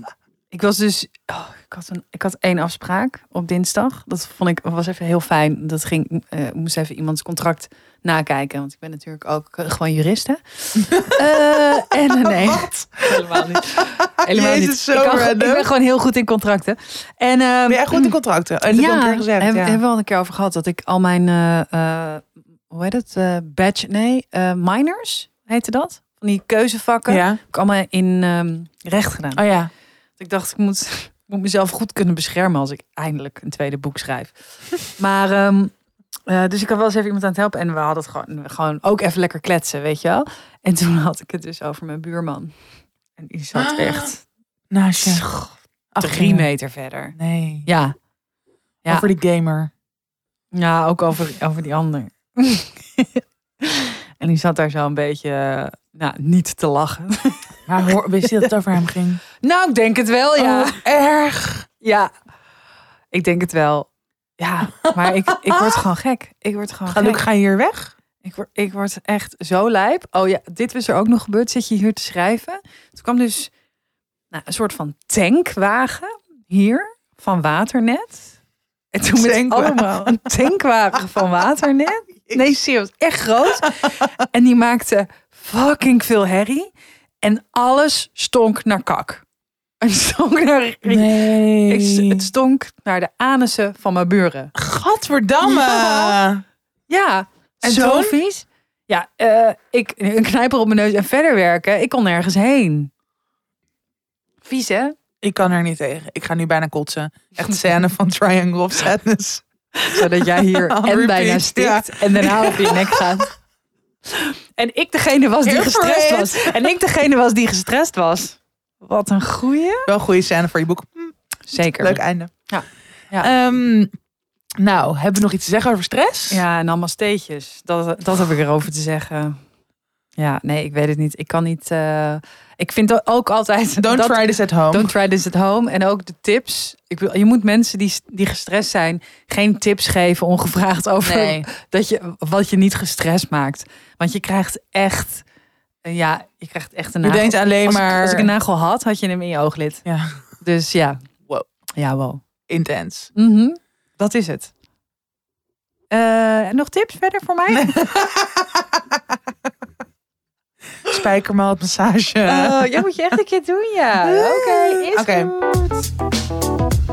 Speaker 2: ik was dus. oh, ik, had een, ik had één afspraak op dinsdag. Dat vond ik was even heel fijn. Dat ging, eh, ik moest even iemands contract nakijken. Want ik ben natuurlijk ook eh, gewoon jurist. Hè? Eh, en eh, nee.
Speaker 1: Wat?
Speaker 2: Helemaal niet. Helemaal
Speaker 1: Jezus,
Speaker 2: niet.
Speaker 1: zo
Speaker 2: ik, kan- ik
Speaker 1: random.
Speaker 2: ben gewoon heel goed in contracten. En, ehm,
Speaker 1: Ben jij goed in contracten? En dat heb ik al een keer gezegd.
Speaker 2: heb-
Speaker 1: ja.
Speaker 2: hebben we al een keer over gehad dat ik al mijn, eh, eh, hoe heet het, eh badge, nee, eh, minors heette dat? Van die keuzevakken.
Speaker 1: Ja.
Speaker 2: Heb ik allemaal in ehm, recht gedaan.
Speaker 1: Oh ja.
Speaker 2: Dus Ik dacht, ik moet, ik moet mezelf goed kunnen beschermen als ik eindelijk een tweede boek schrijf. maar, ehm, eh, dus ik had wel eens even iemand aan het helpen. En we hadden het gewoon, gewoon ook even lekker kletsen, weet je wel. En toen had ik het dus over mijn buurman. En die zat
Speaker 1: Ah.
Speaker 2: echt
Speaker 1: Naast je. Nou, Ach,
Speaker 2: drie
Speaker 1: ja.
Speaker 2: meter verder.
Speaker 1: Nee.
Speaker 2: Ja, Ja.
Speaker 1: Over die gamer.
Speaker 2: ja ook over, over die ander. en die zat daar zo een beetje, eh, nou, niet te lachen.
Speaker 1: Maar hoor, wist je dat het over hem ging?
Speaker 2: nou, ik denk het wel, ja.
Speaker 1: Oh, erg.
Speaker 2: Ja, ik denk het wel. Ja, maar ik, ik word gewoon gek. Ik word gewoon
Speaker 1: Gelukkig
Speaker 2: gek.
Speaker 1: ga je hier weg.
Speaker 2: Ik word, ik word echt zo lijp. Oh ja, dit was er ook nog gebeurd. Zit je hier te schrijven? Toen kwam dus nou, een soort van tankwagen hier van Waternet. En toen met
Speaker 1: Tankwagen.
Speaker 2: allemaal een tankwagen van Waternet. Nee, serieus, echt groot. En die maakte fucking veel herrie. En alles stonk naar kak. En stonk naar
Speaker 1: Nee.
Speaker 2: ik, s- het stonk naar de anussen van mijn buren.
Speaker 1: Gadverdamme.
Speaker 2: Ja. Ja,
Speaker 1: En
Speaker 2: zo
Speaker 1: toen?
Speaker 2: vies. Ja, eh, ik een knijper op mijn neus en verder werken. Ik kon nergens heen. Vies, hè?
Speaker 1: Ik kan er niet tegen. Ik ga nu bijna kotsen. Echt scène van Triangle of Sadness.
Speaker 2: Zodat jij hier
Speaker 1: On
Speaker 2: en bijna
Speaker 1: repeat,
Speaker 2: stikt en daarna op je nek gaat. En ik degene was die
Speaker 1: Here for
Speaker 2: gestrest
Speaker 1: it.
Speaker 2: was. En ik degene was die gestrest was. Wat een goeie.
Speaker 1: Wel een goede scène voor je boek.
Speaker 2: Zeker.
Speaker 1: Leuk einde.
Speaker 2: Ja.
Speaker 1: Ja. nou, hebben we nog iets te zeggen over stress?
Speaker 2: Ja, en allemaal steetjes. Dat, dat heb ik erover te zeggen. Ja, nee, ik weet het niet. Ik kan niet. eh, ik vind dat ook altijd.
Speaker 1: Don't
Speaker 2: dat,
Speaker 1: try this at home.
Speaker 2: don't try this at home. En ook de tips. Ik bedoel, je moet mensen die, die gestrest zijn geen tips geven ongevraagd over
Speaker 1: Nee.
Speaker 2: dat je, wat je niet gestrest maakt. Want je krijgt echt. eh, ja, je krijgt echt een
Speaker 1: Je
Speaker 2: nagel.
Speaker 1: denkt alleen
Speaker 2: nou, als, ik-
Speaker 1: maar...
Speaker 2: als ik een nagel had, had je hem in je ooglid.
Speaker 1: Ja,
Speaker 2: Dus ja.
Speaker 1: Wow.
Speaker 2: Ja, wow.
Speaker 1: intens.
Speaker 2: Mhm. Dat is het. Eh, nog tips verder voor mij?
Speaker 1: Spijkermaat, massage.
Speaker 2: Oh, ja, moet je echt een keer doen, ja.
Speaker 1: Nee.
Speaker 2: Oké, is
Speaker 1: Oké.
Speaker 2: goed.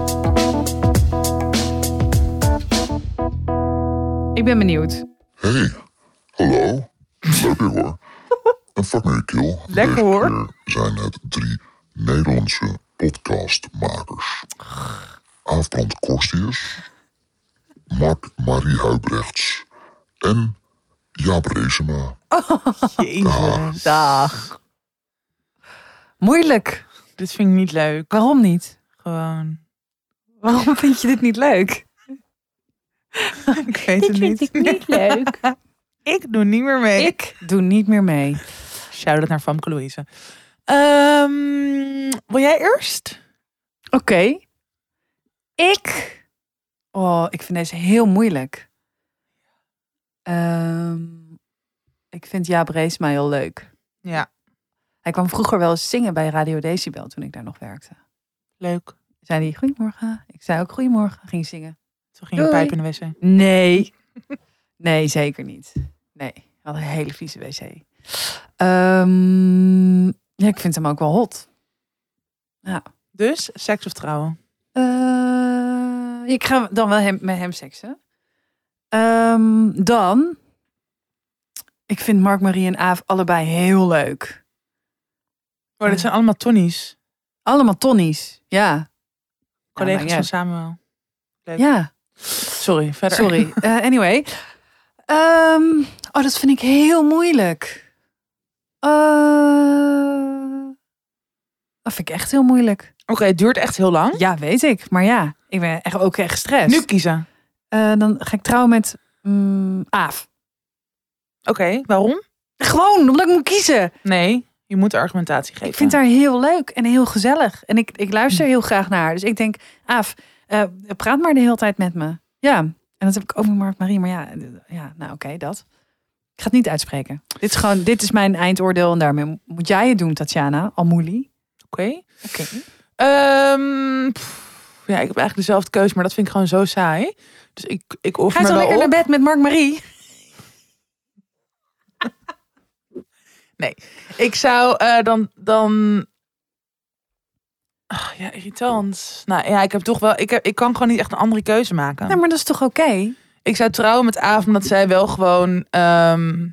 Speaker 2: Ik ben benieuwd.
Speaker 3: Hey, hallo. Leuk weer hoor. En fuck me kill.
Speaker 1: Lekker,
Speaker 3: Deze
Speaker 1: hoor.
Speaker 3: keer zijn het drie Nederlandse podcastmakers. Aafbrand Korstius, Mark Marie Huibrechts en Jaap Reesema.
Speaker 1: Jezus.
Speaker 2: Dag. Moeilijk.
Speaker 1: Dit vind ik niet leuk.
Speaker 2: Waarom niet?
Speaker 1: Gewoon...
Speaker 2: Waarom vind je dit niet leuk?
Speaker 1: Ik weet het niet.
Speaker 2: leuk.
Speaker 1: Ik doe niet meer mee.
Speaker 2: Ik doe niet meer mee.
Speaker 1: Shout-out naar Famke Louise. Ehm, wil jij eerst?
Speaker 2: Oké. Ik. Oh, ik vind deze heel moeilijk. Ehm, ik vind Jaap Reesma heel leuk.
Speaker 1: Ja.
Speaker 2: Hij kwam vroeger wel eens zingen bij Radio Decibel toen ik daar nog werkte.
Speaker 1: Leuk.
Speaker 2: Zei hij goedemorgen. Ik zei ook goedemorgen. Ging zingen.
Speaker 1: Toen ging je
Speaker 2: Doei.
Speaker 1: pijp in de wc.
Speaker 2: Nee. Nee, zeker niet. Nee. Hij had een hele vieze wc. Ehm, ja, ik vind hem ook wel hot.
Speaker 1: Dus, seks of trouwen?
Speaker 2: Eh, ik ga dan wel hem, met hem seksen. Ehm, dan. Ik vind Mark, Marie en Aaf allebei heel leuk.
Speaker 1: Oh, dit zijn allemaal Tonnies.
Speaker 2: Allemaal Tonnies. Ja.
Speaker 1: Collega's
Speaker 2: ja.
Speaker 1: van Samuel. Leuk.
Speaker 2: Ja,
Speaker 1: Sorry, verder.
Speaker 2: sorry. Eh, anyway. Ehm, oh, dat vind ik heel moeilijk. Eh, Dat vind ik echt heel moeilijk.
Speaker 1: Oké, het duurt echt heel lang.
Speaker 2: Ja, weet ik. Maar ja, ik ben echt ook echt gestrest.
Speaker 1: Nu kiezen.
Speaker 2: Eh, dan ga ik trouwen met mm, Aaf.
Speaker 1: Oké, waarom?
Speaker 2: Gewoon, omdat ik moet kiezen.
Speaker 1: Nee, je moet argumentatie geven.
Speaker 2: Ik vind haar heel leuk en heel gezellig. En ik, ik luister heel graag naar haar. Dus ik denk, Aaf, eh, praat maar de hele tijd met me. Ja, en dat heb ik ook met Mark Marie. Maar ja, eh, ja nou oké, dat. Ik ga het niet uitspreken. Dit is gewoon, dit is mijn eindoordeel. En daarmee moet jij het doen, Tatjana. Almoeli.
Speaker 1: Oké.
Speaker 2: Oké.
Speaker 1: Ehm, pff, ja, ik heb eigenlijk dezelfde keuze, maar dat vind ik gewoon zo saai. Dus ik, ik
Speaker 2: Ga
Speaker 1: offer
Speaker 2: je
Speaker 1: me
Speaker 2: zo
Speaker 1: wel
Speaker 2: lekker
Speaker 1: op.
Speaker 2: naar bed met Mark Marie?
Speaker 1: Ik zou eh, dan. dan... Ah, ja, irritant. Nou ja, ik heb toch wel. Ik, heb, ik kan gewoon niet echt een andere keuze maken.
Speaker 2: Nou, maar dat is toch oké?
Speaker 1: Ik zou trouwen met Aaf, omdat zij wel gewoon. ehm,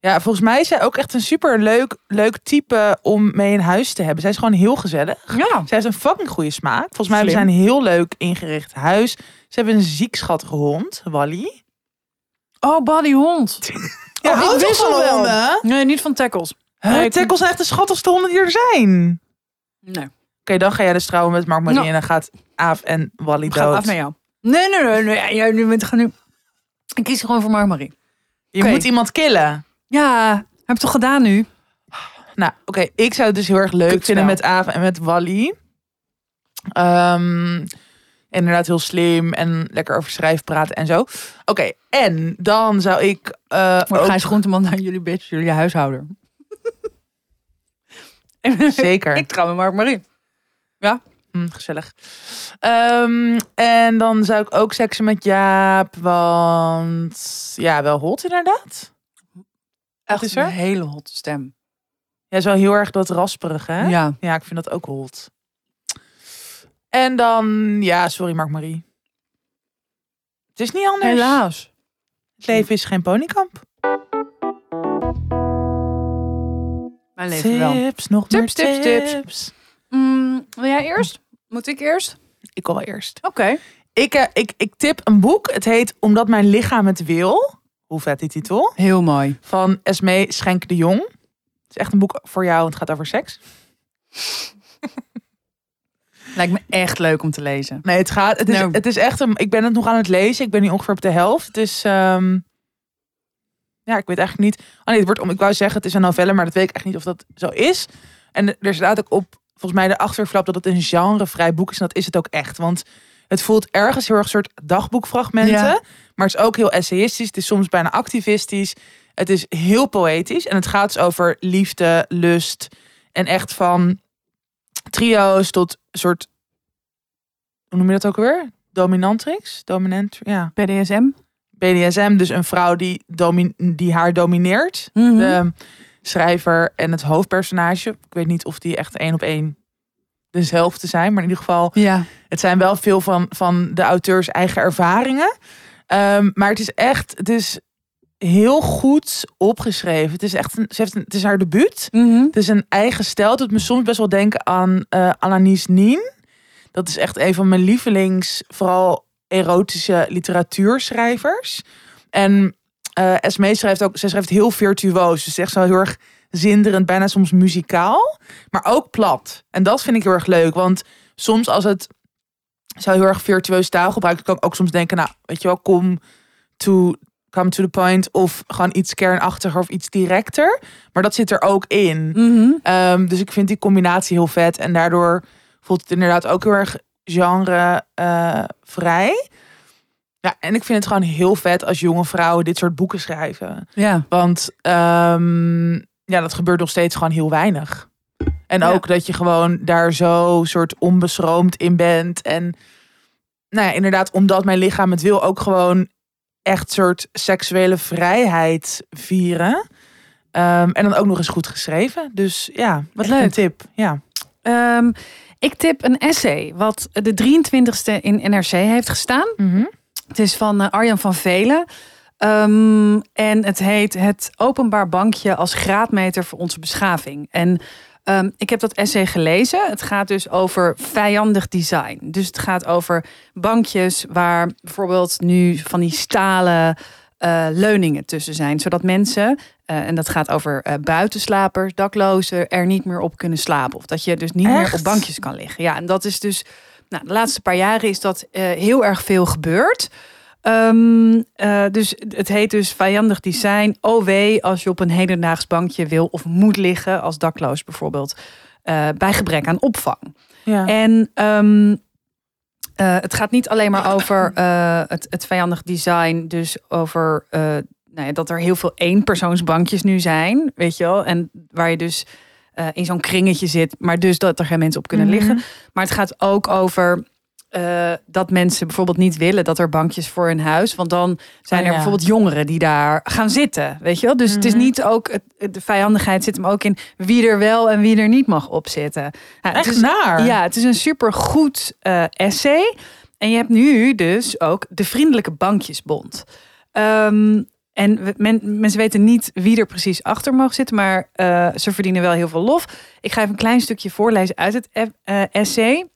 Speaker 1: ja, volgens mij is zij ook echt een super leuk, leuk type om mee in huis te hebben. Zij is gewoon heel gezellig.
Speaker 2: Ja.
Speaker 1: Zij heeft een fucking goede smaak. Volgens mij hebben
Speaker 2: Slim.
Speaker 1: zij een heel leuk ingericht huis. Ze hebben een ziek schattige hond, Wally.
Speaker 2: Oh, body hond.
Speaker 1: Ja,
Speaker 2: Oh, ik
Speaker 1: houdt toch
Speaker 2: wissel
Speaker 1: van
Speaker 2: wel.
Speaker 1: honden?
Speaker 2: Nee, niet van tackles.
Speaker 1: Huh,
Speaker 2: Nee, ik-
Speaker 1: Tackles zijn echt de schattigste honden die er zijn.
Speaker 2: Nee.
Speaker 1: Oké, dan ga jij dus trouwen met Mark Marie
Speaker 2: Nou.
Speaker 1: en dan gaat Aaf en Wally
Speaker 2: Ik ga
Speaker 1: dood.
Speaker 2: af met jou. Nee, nee, nee. nee. Jij nu bent gaan nu. Ik kies gewoon voor Mark Marie.
Speaker 1: Je
Speaker 2: Oké.
Speaker 1: moet iemand killen.
Speaker 2: Ja, heb ik toch gedaan nu?
Speaker 1: Nou, oké, ik zou het dus heel erg leuk
Speaker 2: Kutspel.
Speaker 1: vinden met Aaf en met Wally. Ehm, inderdaad heel slim en lekker over schrijf praten en zo. Oké, en dan zou ik eh
Speaker 2: Maar
Speaker 1: ook
Speaker 2: Gijs Groenteman naar jullie bitch, jullie huishouder.
Speaker 1: zeker
Speaker 2: ik trouw met Mark Marie.
Speaker 1: Hm, gezellig. Ehm, en dan zou ik ook seksen met Jaap, want ja, wel hot inderdaad.
Speaker 2: Echt
Speaker 1: is er?
Speaker 2: een hele hot stem.
Speaker 1: Ja, zo heel erg dat rasperig, hè?
Speaker 2: Ja.
Speaker 1: Ja, ik vind dat ook hot. En dan, ja, sorry Mark Marie. Het is niet anders.
Speaker 2: Helaas.
Speaker 1: Het leven is geen ponykamp.
Speaker 2: Mijn leven wel.
Speaker 1: Tips, nog
Speaker 2: Tips,
Speaker 1: meer
Speaker 2: tips,
Speaker 1: tips,
Speaker 2: tips. Mm, wil jij eerst? Moet ik eerst?
Speaker 1: Ik wil wel eerst.
Speaker 2: Oké.
Speaker 1: Ik, eh, ik, ik tip een boek. Het heet Omdat mijn lichaam het wil. Hoe vet die titel.
Speaker 2: Heel mooi.
Speaker 1: Van Esmee Schenk de Jong. Het is echt een boek voor jou. want Het gaat over seks.
Speaker 2: Lijkt me echt leuk om te lezen.
Speaker 1: Nee, het gaat. Het is,
Speaker 2: Nou.
Speaker 1: het is echt een. Ik ben het nog aan het lezen. Ik ben nu ongeveer op de helft. Het is. ehm, ja, ik weet eigenlijk niet. Oh nee, het wordt om. Ik wou zeggen, het is een novelle, maar dat weet ik echt niet of dat zo is. En er staat ook op, volgens mij, de achterflap dat het een genrevrij boek is. En dat is het ook echt. Want het voelt ergens heel erg soort dagboekfragmenten.
Speaker 2: Ja.
Speaker 1: Maar het is ook heel essayistisch. Het is soms bijna activistisch. Het is heel poëtisch. En het gaat dus over liefde, lust. En echt van trio's tot soort. Hoe noem je dat ook weer? Dominantrix? Dominant. Ja.
Speaker 2: BDSM?
Speaker 1: BDSM, dus een vrouw die, domi- die haar domineert.
Speaker 2: Mhm.
Speaker 1: De schrijver en het hoofdpersonage. Ik weet niet of die echt één op één dezelfde zijn. Maar in ieder geval,
Speaker 2: Ja.
Speaker 1: het zijn wel veel van, van de auteurs eigen ervaringen. Ehm, maar het is echt, het is heel goed opgeschreven. Het is echt, een, ze heeft een- het is haar debuut.
Speaker 2: Mhm.
Speaker 1: Het is een eigen stijl. Het doet me soms best wel denken aan eh Alanis Nien. Dat is echt een van mijn lievelings, vooral erotische literatuurschrijvers. En eh Esme schrijft ook, zij schrijft heel virtuoos. Dus echt zo heel erg zinderend, bijna soms muzikaal. Maar ook plat. En dat vind ik heel erg leuk. Want soms als het zo heel erg virtueus taalgebruik, kan ik ook soms denken, nou, weet je wel, kom to, come to the point. Of gewoon iets kernachtiger of iets directer. Maar dat zit er ook in.
Speaker 2: Mhm.
Speaker 1: Ehm, dus ik vind die combinatie heel vet. En daardoor voelt het inderdaad ook heel erg genre eh, vrij. Ja, en ik vind het gewoon heel vet als jonge vrouwen dit soort boeken schrijven.
Speaker 2: Ja.
Speaker 1: Want ehm, ja, dat gebeurt nog steeds gewoon heel weinig. En
Speaker 2: Ja.
Speaker 1: ook dat je gewoon daar zo soort onbeschroomd in bent. En nou ja, inderdaad, omdat mijn lichaam het wil, ook gewoon echt soort seksuele vrijheid vieren. Ehm, en dan ook nog eens goed geschreven. Dus ja,
Speaker 2: Wat
Speaker 1: echt een
Speaker 2: leuk.
Speaker 1: tip. Ja.
Speaker 2: Ehm, ik tip een essay wat de 23ste in NRC heeft gestaan.
Speaker 1: Mhm,
Speaker 2: Het is van eh, Arjan van Velen. Ehm, en het heet Het openbaar bankje als graadmeter voor onze beschaving. En ehm, ik heb dat essay gelezen. Het gaat dus over vijandig design. Dus het gaat over bankjes waar bijvoorbeeld nu van die stalen eh, eh, leuningen tussen zijn. Zodat mensen, eh, en dat gaat over eh, buitenslapers, daklozen, er niet meer op kunnen slapen. Of dat je dus niet meer
Speaker 1: Echt?
Speaker 2: op bankjes kan liggen. Ja, en dat is dus, nou, de laatste paar jaren is dat eh, heel erg veel gebeurd. Ehm, eh, dus het heet dus vijandig design. OW als je op een hedendaags bankje wil of moet liggen, als dakloos bijvoorbeeld, eh, bij gebrek aan opvang.
Speaker 1: Ja.
Speaker 2: En ehm, eh, het gaat niet alleen maar over eh, het, het vijandig design. Dus over eh, nou ja, dat er heel veel eenpersoonsbankjes nu zijn. Weet je wel? En waar je dus eh, in zo'n kringetje zit. Maar dus dat er geen mensen op
Speaker 1: Mhm.
Speaker 2: kunnen liggen. Maar het gaat ook over eh, dat mensen bijvoorbeeld niet willen dat er bankjes voor hun huis. Want dan zijn
Speaker 1: Oh,
Speaker 2: er
Speaker 1: ja.
Speaker 2: bijvoorbeeld jongeren die daar gaan zitten. Weet je wel? Dus het is
Speaker 1: Mhm.
Speaker 2: niet ook. het- het- de vijandigheid zit hem ook in wie er wel en wie er niet mag opzitten. Nou, het
Speaker 1: Echt
Speaker 2: is-
Speaker 1: naar.
Speaker 2: ja, het is een supergoed eh essay. En je hebt nu dus ook de Vriendelijke Bankjesbond. Ehm, en we- men- mensen weten niet wie er precies achter mag zitten, maar eh, ze verdienen wel heel veel lof. Ik ga even een klein stukje voorlezen uit het eff- eh, essay.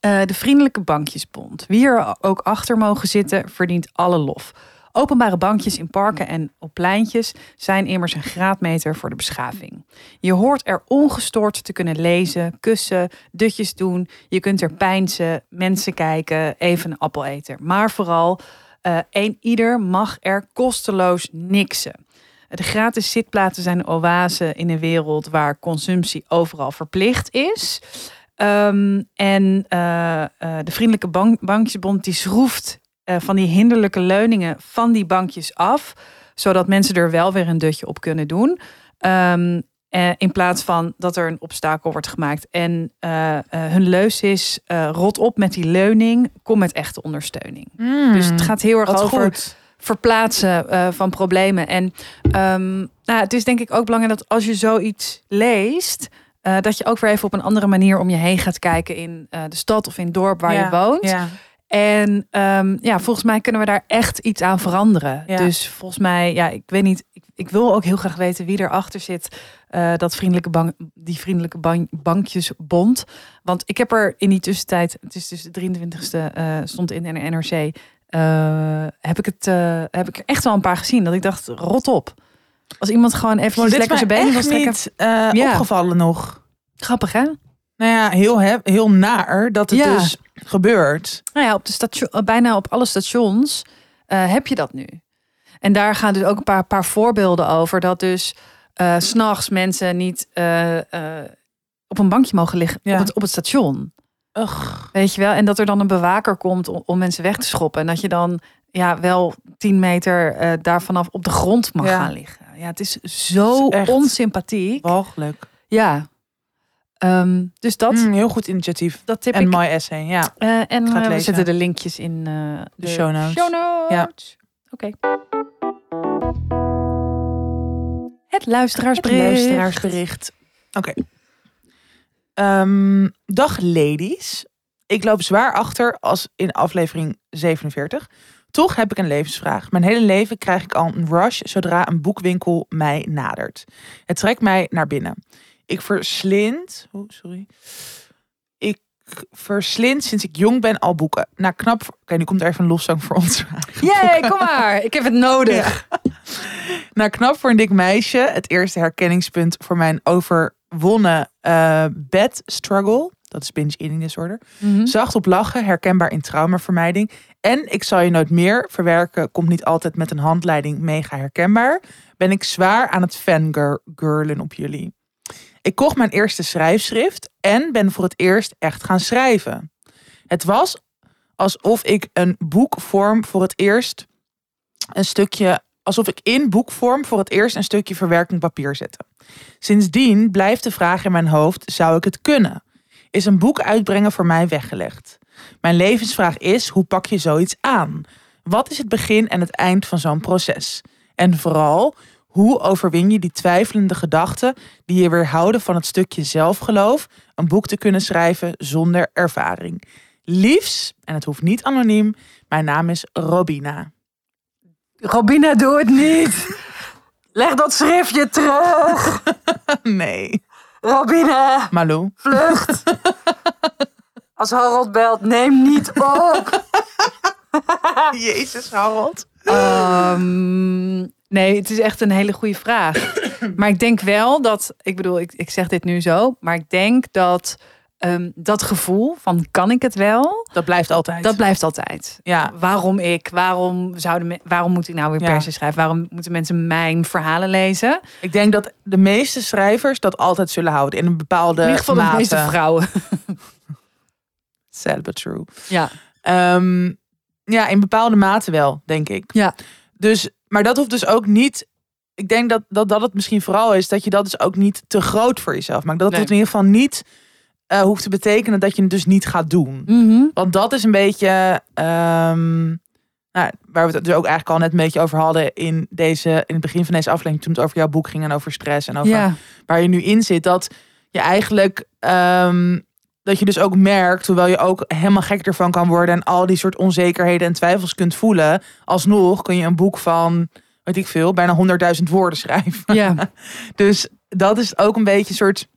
Speaker 2: Eh, de Vriendelijke Bankjesbond. Wie er ook achter mogen zitten, verdient alle lof. Openbare bankjes in parken en op pleintjes zijn immers een graadmeter voor de beschaving. Je hoort er ongestoord te kunnen lezen, kussen, dutjes doen. Je kunt er pijnsen, mensen kijken, even een appel eten. Maar vooral, eh een ieder mag er kosteloos niksen. De gratis zitplaatsen zijn een oase in een wereld waar consumptie overal verplicht is. Ehm, en eh, eh, de Vriendelijke bank Bankjesbond die schroeft eh, van die hinderlijke leuningen van die bankjes af. Zodat mensen er wel weer een dutje op kunnen doen. Ehm, eh, in plaats van dat er een obstakel wordt gemaakt. En eh, eh, hun leus is: eh, rot op met die leuning, kom met echte ondersteuning. Dus het gaat heel erg
Speaker 1: Mm. Hmm. Wat
Speaker 2: over
Speaker 1: goed.
Speaker 2: verplaatsen eh, van problemen. En ehm, nou, het is denk ik ook belangrijk dat als je zoiets leest, eh, dat je ook weer even op een andere manier om je heen gaat kijken in eh, de stad of in het dorp waar
Speaker 1: Ja,
Speaker 2: je woont.
Speaker 1: Ja.
Speaker 2: En ehm, ja, volgens mij kunnen we daar echt iets aan veranderen.
Speaker 1: Ja.
Speaker 2: Dus volgens mij, ja, ik weet niet, ik, ik wil ook heel graag weten wie erachter zit. eh, dat vriendelijke bank, die vriendelijke ban- bankjesbond. Want ik heb er in die tussentijd, het is dus de 23e, eh, stond in de NRC. eh, heb, ik het, eh, heb ik er echt wel een paar gezien dat ik dacht, rot op. Als iemand gewoon even
Speaker 1: Maar dit
Speaker 2: lekker
Speaker 1: is
Speaker 2: zijn
Speaker 1: mij
Speaker 2: benen wil
Speaker 1: echt
Speaker 2: strekken.
Speaker 1: niet eh,
Speaker 2: Ja.
Speaker 1: opgevallen nog.
Speaker 2: Grappig hè?
Speaker 1: Nou ja, heel, hef- heel naar dat het
Speaker 2: Ja.
Speaker 1: dus gebeurt.
Speaker 2: Nou ja, op de station, eh, bijna op alle stations eh, heb je dat nu. En daar gaan dus ook een paar, paar voorbeelden over. Dat dus eh, s s'nachts mensen niet eh, eh, op een bankje mogen liggen
Speaker 1: Ja.
Speaker 2: op, het, op het station.
Speaker 1: Ugh.
Speaker 2: Weet je wel? En dat er dan een bewaker komt om, om mensen weg te schoppen. En dat je dan ja, wel 10 meter eh daar vanaf op de grond mag
Speaker 1: Ja.
Speaker 2: gaan liggen. Nou Ja, het is zo
Speaker 1: Echt.
Speaker 2: onsympathiek.
Speaker 1: Walgelijk.
Speaker 2: Ja. Ehm, dus dat,
Speaker 1: Mm, heel goed initiatief.
Speaker 2: dat tip
Speaker 1: En
Speaker 2: ik.
Speaker 1: My Essay, ja.
Speaker 2: Eh, en
Speaker 1: Gaat
Speaker 2: eh, we
Speaker 1: lezen.
Speaker 2: zetten de linkjes in eh,
Speaker 1: De show notes. Ja.
Speaker 2: Oké. Het luisteraarsbrief.
Speaker 1: luisteraarsbericht. Oké. Ehm, dag ladies. Ik loop zwaar achter als in aflevering 47. Toch heb ik een levensvraag. Mijn hele leven krijg ik al een rush zodra een boekwinkel mij nadert. Het trekt mij naar binnen. Ik verslind. Oh, sorry. Ik verslind sinds ik jong ben al boeken. Na knap. Oké, nu komt er even een lofzang voor ons.
Speaker 2: Jee, kom maar. Ik heb het nodig.
Speaker 1: Nou, knap voor een dik meisje. Het eerste herkenningspunt voor mijn overwonnen eh, bed struggle. Dat is binge eating disorder.
Speaker 2: Mhm.
Speaker 1: Zacht op lachen, herkenbaar in traumavermijding. En ik zal je nooit meer verwerken. Komt niet altijd met een handleiding mega herkenbaar. Ben ik zwaar aan het fangirlen op jullie. Ik kocht mijn eerste schrijfschrift en ben voor het eerst echt gaan schrijven. Het was alsof ik een boekvorm voor het eerst een stukje, alsof ik in boekvorm voor het eerst een stukje verwerking papier zette. Sindsdien blijft de vraag in mijn hoofd: zou ik het kunnen? Is een boek uitbrengen voor mij weggelegd? Mijn levensvraag is: hoe pak je zoiets aan? Wat is het begin en het eind van zo'n proces? En vooral, hoe overwin je die twijfelende gedachten die je weerhouden van het stukje zelfgeloof, een boek te kunnen schrijven zonder ervaring? Liefs, en het hoeft niet anoniem, mijn naam is Robina.
Speaker 2: Robina, doe het niet. Leg dat schriftje terug.
Speaker 1: Nee,
Speaker 2: Robina,
Speaker 1: Malou.
Speaker 2: vlucht. Als Harold belt, neem niet op.
Speaker 1: Ah. Jezus, Harold.
Speaker 2: Ehm, nee, het is echt een hele goede vraag. Maar ik denk wel dat, ik bedoel, ik, ik zeg dit nu zo, maar ik denk dat ehm, dat gevoel van kan ik het wel,
Speaker 1: Dat blijft altijd.
Speaker 2: dat blijft altijd.
Speaker 1: ja.
Speaker 2: Waarom ik? Waarom, zouden me- waarom moet ik nou weer
Speaker 1: Ja.
Speaker 2: persen schrijven? Waarom moeten mensen mijn verhalen lezen?
Speaker 1: Ik denk dat de meeste schrijvers dat altijd zullen houden. In een bepaalde
Speaker 2: In ieder geval
Speaker 1: mate.
Speaker 2: de meeste vrouwen.
Speaker 1: Sad but true.
Speaker 2: Ja.
Speaker 1: Ehm, ja, in bepaalde mate wel, denk ik.
Speaker 2: Ja.
Speaker 1: Dus, maar dat hoeft dus ook niet... Ik denk dat, dat dat het misschien vooral is... dat je dat dus ook niet te groot voor jezelf maakt. Dat
Speaker 2: Nee.
Speaker 1: het in ieder geval niet eh, hoeft te betekenen... dat je het dus niet gaat doen.
Speaker 2: Mhm.
Speaker 1: Want dat is een beetje... ehm, nou, waar we het dus ook eigenlijk al net een beetje over hadden... In, deze, in het begin van deze aflevering... toen het over jouw boek ging en over stress... en over
Speaker 2: Ja.
Speaker 1: waar je nu in zit, dat je eigenlijk ehm, dat je dus ook merkt, hoewel je ook helemaal gek ervan kan worden en al die soort onzekerheden en twijfels kunt voelen, alsnog kun je een boek van weet ik veel, bijna 100.000 woorden schrijven.
Speaker 2: ja.
Speaker 1: Dus dat is ook een beetje een soort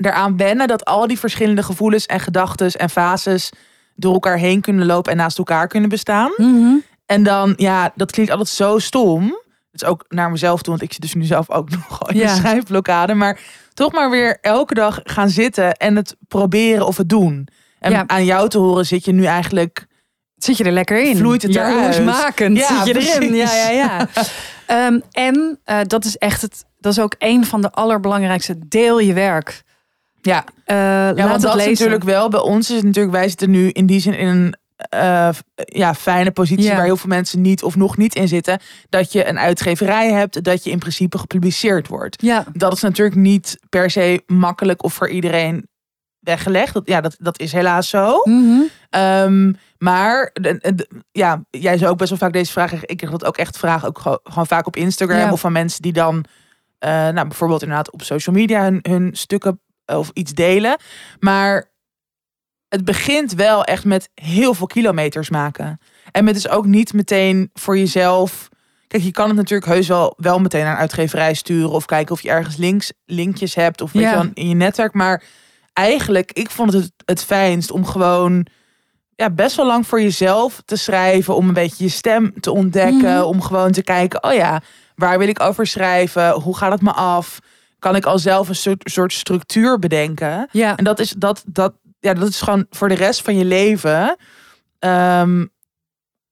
Speaker 1: eraan wennen dat al die verschillende gevoelens en gedachten en fases door elkaar heen kunnen lopen en naast elkaar kunnen bestaan.
Speaker 2: Mhm.
Speaker 1: En dan, ja, dat klinkt altijd zo stom. Het is ook naar mezelf toe, want ik zit dus nu zelf ook nogal in
Speaker 2: Ja.
Speaker 1: een schrijfblokkade. Maar toch maar weer elke dag gaan zitten en het proberen of het doen. En
Speaker 2: Ja.
Speaker 1: aan jou te horen zit je nu eigenlijk...
Speaker 2: Zit je er lekker in?
Speaker 1: Vloeit het
Speaker 2: ja,
Speaker 1: eruit?
Speaker 2: Jaloersmakend.
Speaker 1: Ja,
Speaker 2: Zit je erin? Ja,
Speaker 1: precies.
Speaker 2: ja, ja. Ehm, en eh, dat is echt het. Dat is ook een van de allerbelangrijkste. Deel je werk.
Speaker 1: Ja,
Speaker 2: Eh,
Speaker 1: ja
Speaker 2: laat
Speaker 1: want
Speaker 2: het
Speaker 1: dat is
Speaker 2: lezen.
Speaker 1: natuurlijk wel... Bij ons is het natuurlijk... Wij zitten nu in die zin in een eh, f- ja, fijne positie...
Speaker 2: Ja.
Speaker 1: waar heel veel mensen niet of nog niet in zitten. Dat je een uitgeverij hebt. Dat je in principe gepubliceerd wordt.
Speaker 2: Ja,
Speaker 1: dat is natuurlijk niet per se makkelijk of voor iedereen weggelegd. Dat, ja, dat, dat is helaas zo.
Speaker 2: Mhm.
Speaker 1: Ehm, maar de- de- ja, jij zou ook best wel vaak deze vraag krijgen. Ik krijg dat ook echt vragen, ook gewoon, gewoon vaak op Instagram
Speaker 2: Ja.
Speaker 1: of van mensen die dan eh, nou, bijvoorbeeld inderdaad op social media hun, hun stukken eh, of iets delen. Maar het begint wel echt met heel veel kilometers maken. En met dus ook niet meteen voor jezelf. Kijk, je kan het natuurlijk heus wel, wel meteen naar een uitgeverij sturen. Of kijken of je ergens links, linkjes hebt. Of weet
Speaker 2: Ja.
Speaker 1: je wel, in je netwerk. Maar eigenlijk, ik vond het het het fijnst om gewoon ja, best wel lang voor jezelf te schrijven. Om een beetje je stem te ontdekken.
Speaker 2: Mhm.
Speaker 1: Om gewoon te kijken, oh ja, waar wil ik over schrijven? Hoe gaat het me af? Kan ik al zelf een soort, soort structuur bedenken?
Speaker 2: ja.
Speaker 1: En dat is, dat, dat, ja, dat is gewoon voor de rest van je leven. ehm,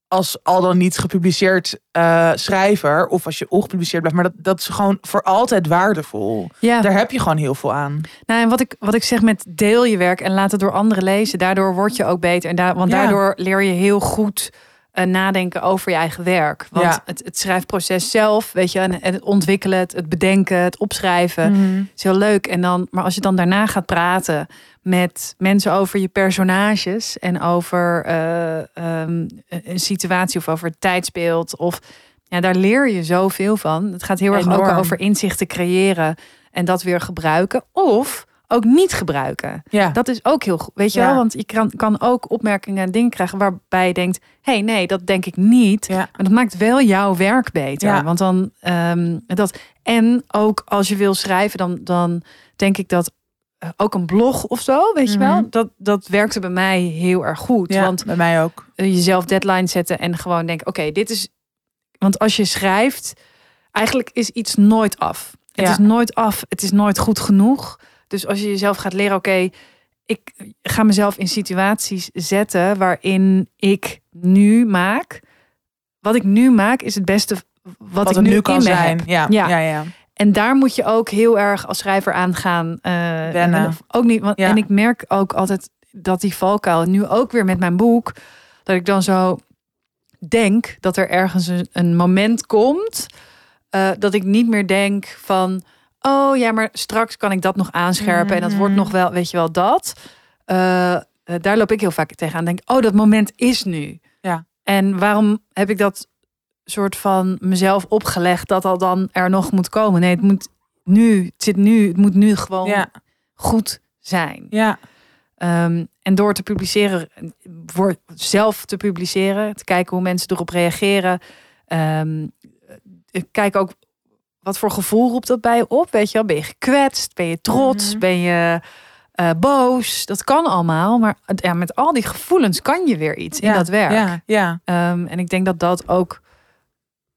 Speaker 1: als al dan niet gepubliceerd eh, schrijver. Of als je ongepubliceerd blijft. Maar dat, dat is gewoon voor altijd waardevol.
Speaker 2: ja.
Speaker 1: Daar heb je gewoon heel veel aan.
Speaker 2: Nou, en wat ik, wat ik zeg met deel je werk en laat het door anderen lezen. Daardoor word je ook beter. En daar, want
Speaker 1: Ja.
Speaker 2: daardoor leer je heel goed eh, nadenken over je eigen werk. Want
Speaker 1: Ja.
Speaker 2: het, het schrijfproces zelf, weet je, en, en het ontwikkelen, het, het bedenken, het
Speaker 1: Eh,
Speaker 2: opschrijven. is heel leuk. En dan, maar als je dan daarna gaat praten met mensen over je personages en over eh, ehm, een- een situatie of over het tijdsbeeld. Of ja, daar leer je zoveel van. Het gaat heel erg ook
Speaker 1: Enorm.
Speaker 2: over inzichten creëren en dat weer gebruiken. Of ook niet gebruiken.
Speaker 1: Ja.
Speaker 2: Dat is ook heel goed. Weet je
Speaker 1: Ja.
Speaker 2: wel? Want je kan, kan ook opmerkingen en dingen krijgen waarbij je denkt: hé, hey, nee, dat denk ik niet.
Speaker 1: Ja.
Speaker 2: Maar dat maakt wel jouw werk beter.
Speaker 1: Ja.
Speaker 2: Want dan ehm, dat. En ook als je wil schrijven, dan, dan denk ik dat eh, ook een blog of zo, weet je wel,
Speaker 1: Mhm.
Speaker 2: dat, dat werkte bij mij heel erg goed.
Speaker 1: Ja,
Speaker 2: Want
Speaker 1: bij mij ook.
Speaker 2: eh, jezelf deadline zetten en gewoon denken: oké, dit is. Want als je schrijft, eigenlijk is iets nooit af. Het
Speaker 1: Ja.
Speaker 2: is nooit af, het is nooit goed genoeg. Dus als je jezelf gaat leren: oké, ik ga mezelf in situaties zetten waarin ik nu maak. Wat ik nu maak is het beste wat,
Speaker 1: Wat,
Speaker 2: ik
Speaker 1: het
Speaker 2: nu,
Speaker 1: nu kan
Speaker 2: in me heb.
Speaker 1: zijn. Ja.
Speaker 2: Ja.
Speaker 1: Ja. Ja, ja.
Speaker 2: En daar moet je ook heel erg als schrijver aan gaan eh,
Speaker 1: Wennen.
Speaker 2: of Ook niet, want,
Speaker 1: Ja.
Speaker 2: En ik merk ook altijd dat die valkuil, nu ook weer met mijn boek, dat ik dan zo denk dat er ergens een, een moment komt eh, dat ik niet meer denk van, oh ja, maar straks kan ik dat nog aanscherpen en dat
Speaker 1: Mhm.
Speaker 2: wordt nog wel, weet je wel, dat. Eh, eh, daar loop ik heel vaak tegenaan. Denk, oh, dat moment is nu.
Speaker 1: Ja.
Speaker 2: En waarom heb ik dat soort van mezelf opgelegd dat al dan er nog moet komen? Nee, het moet nu, het zit nu, het moet nu gewoon
Speaker 1: Ja.
Speaker 2: goed zijn. Ehm, en door te publiceren, voor zelf te publiceren, te kijken hoe mensen erop reageren. Ehm, eh, kijk ook wat voor gevoel roept dat bij je op. Weet je wel, ben je gekwetst? Ben je trots?
Speaker 1: Mhm.
Speaker 2: Ben je eh, boos? Dat kan allemaal, maar eh, ja, met al die gevoelens kan je weer iets in dat werk.
Speaker 1: Ja. ja.
Speaker 2: Ehm, en ik denk dat dat ook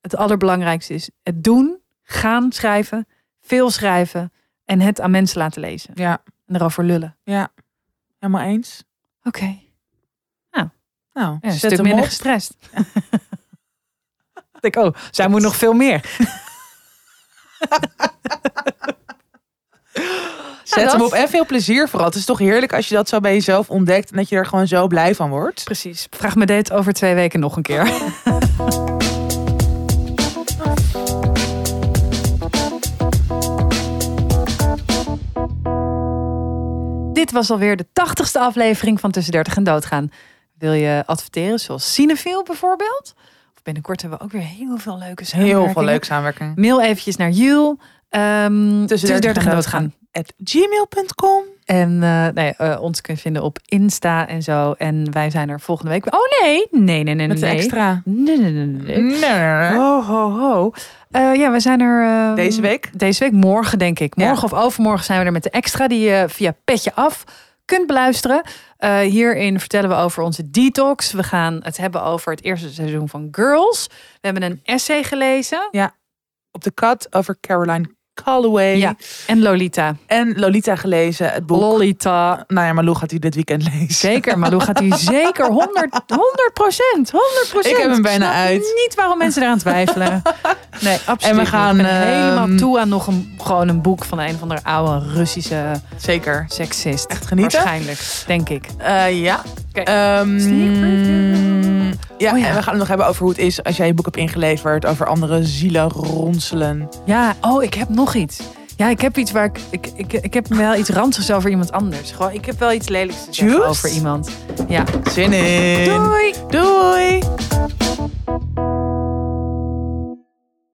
Speaker 2: het allerbelangrijkste is het doen, gaan schrijven, veel schrijven en het aan mensen laten lezen.
Speaker 1: Ja.
Speaker 2: En erover lullen.
Speaker 1: Helemaal eens.
Speaker 2: Oké.
Speaker 1: Nou,
Speaker 2: Ja, een
Speaker 1: zet
Speaker 2: stuk
Speaker 1: hem
Speaker 2: minder
Speaker 1: op.
Speaker 2: gestrest. Ik denk, oh, zij moet nog veel meer.
Speaker 1: Zet
Speaker 2: dat-
Speaker 1: hem op en veel plezier vooral. Het is toch heerlijk als je dat zo bij jezelf ontdekt en dat je er gewoon zo blij van wordt.
Speaker 2: Precies. Vraag me dit over twee weken nog een keer. Dit was alweer de tachtigste aflevering van Tussen 30 en Doodgaan. Wil je adverteren, zoals Cinefiel bijvoorbeeld? Of binnenkort hebben we ook weer heel veel leuke
Speaker 1: Heel veel
Speaker 2: samenwerkingen.
Speaker 1: leuk samenwerking.
Speaker 2: Mail eventjes naar Jul. Ehm
Speaker 1: Tussen 30 en doodgaan. At gmail.com.
Speaker 2: En eh, nee, eh, ons kun je vinden op Insta en zo. En wij zijn er volgende week. weer. Oh nee, nee, nee, nee,
Speaker 1: Met de
Speaker 2: nee.
Speaker 1: extra. Mm. Oh.
Speaker 2: Nee, nee, nee, nee, nee.
Speaker 1: Nee.
Speaker 2: Ho, ho, ho. Eh, ja, we zijn er... eh,
Speaker 1: Deze week?
Speaker 2: Deze week, morgen denk ik.
Speaker 1: Ja.
Speaker 2: Morgen of overmorgen zijn we er met de extra die je via Petje Af kunt beluisteren. Eh, hierin vertellen we over onze detox. We gaan het hebben over het eerste seizoen van Girls. We hebben een essay gelezen.
Speaker 1: Op de kat over Caroline Calloway.
Speaker 2: Ja. En Lolita.
Speaker 1: En Lolita gelezen, het boek.
Speaker 2: Lolita.
Speaker 1: Nou ja, Malou gaat die dit weekend lezen.
Speaker 2: Zeker, Malou gaat hij zeker 100, 100 procent. 100
Speaker 1: Ik heb hem bijna
Speaker 2: snap
Speaker 1: uit.
Speaker 2: Niet waarom mensen eraan twijfelen. Nee, absoluut.
Speaker 1: En we
Speaker 2: niet.
Speaker 1: gaan,
Speaker 2: Ik ben helemaal
Speaker 1: ehm,
Speaker 2: toe aan nog een, gewoon een boek van een of andere oude Russische
Speaker 1: Zeker.
Speaker 2: seksist.
Speaker 1: Echt genieten?
Speaker 2: Waarschijnlijk, denk ik.
Speaker 1: Eh, ja.
Speaker 2: Oké.
Speaker 1: Ehm,
Speaker 2: Sneak preview.
Speaker 1: ja,
Speaker 2: Oh ja.
Speaker 1: en we gaan het nog hebben over hoe het is als jij je boek hebt ingeleverd. Over andere zielen ronselen.
Speaker 2: Ja, oh, ik heb nog iets. Ja, ik heb iets waar ik... Ik, ik, ik heb wel iets ranzigs over iemand anders. Gewoon, ik heb wel iets lelijks te zeggen
Speaker 1: Juice?
Speaker 2: over iemand. Ja.
Speaker 1: Zin in.
Speaker 2: Doei!
Speaker 1: Doei.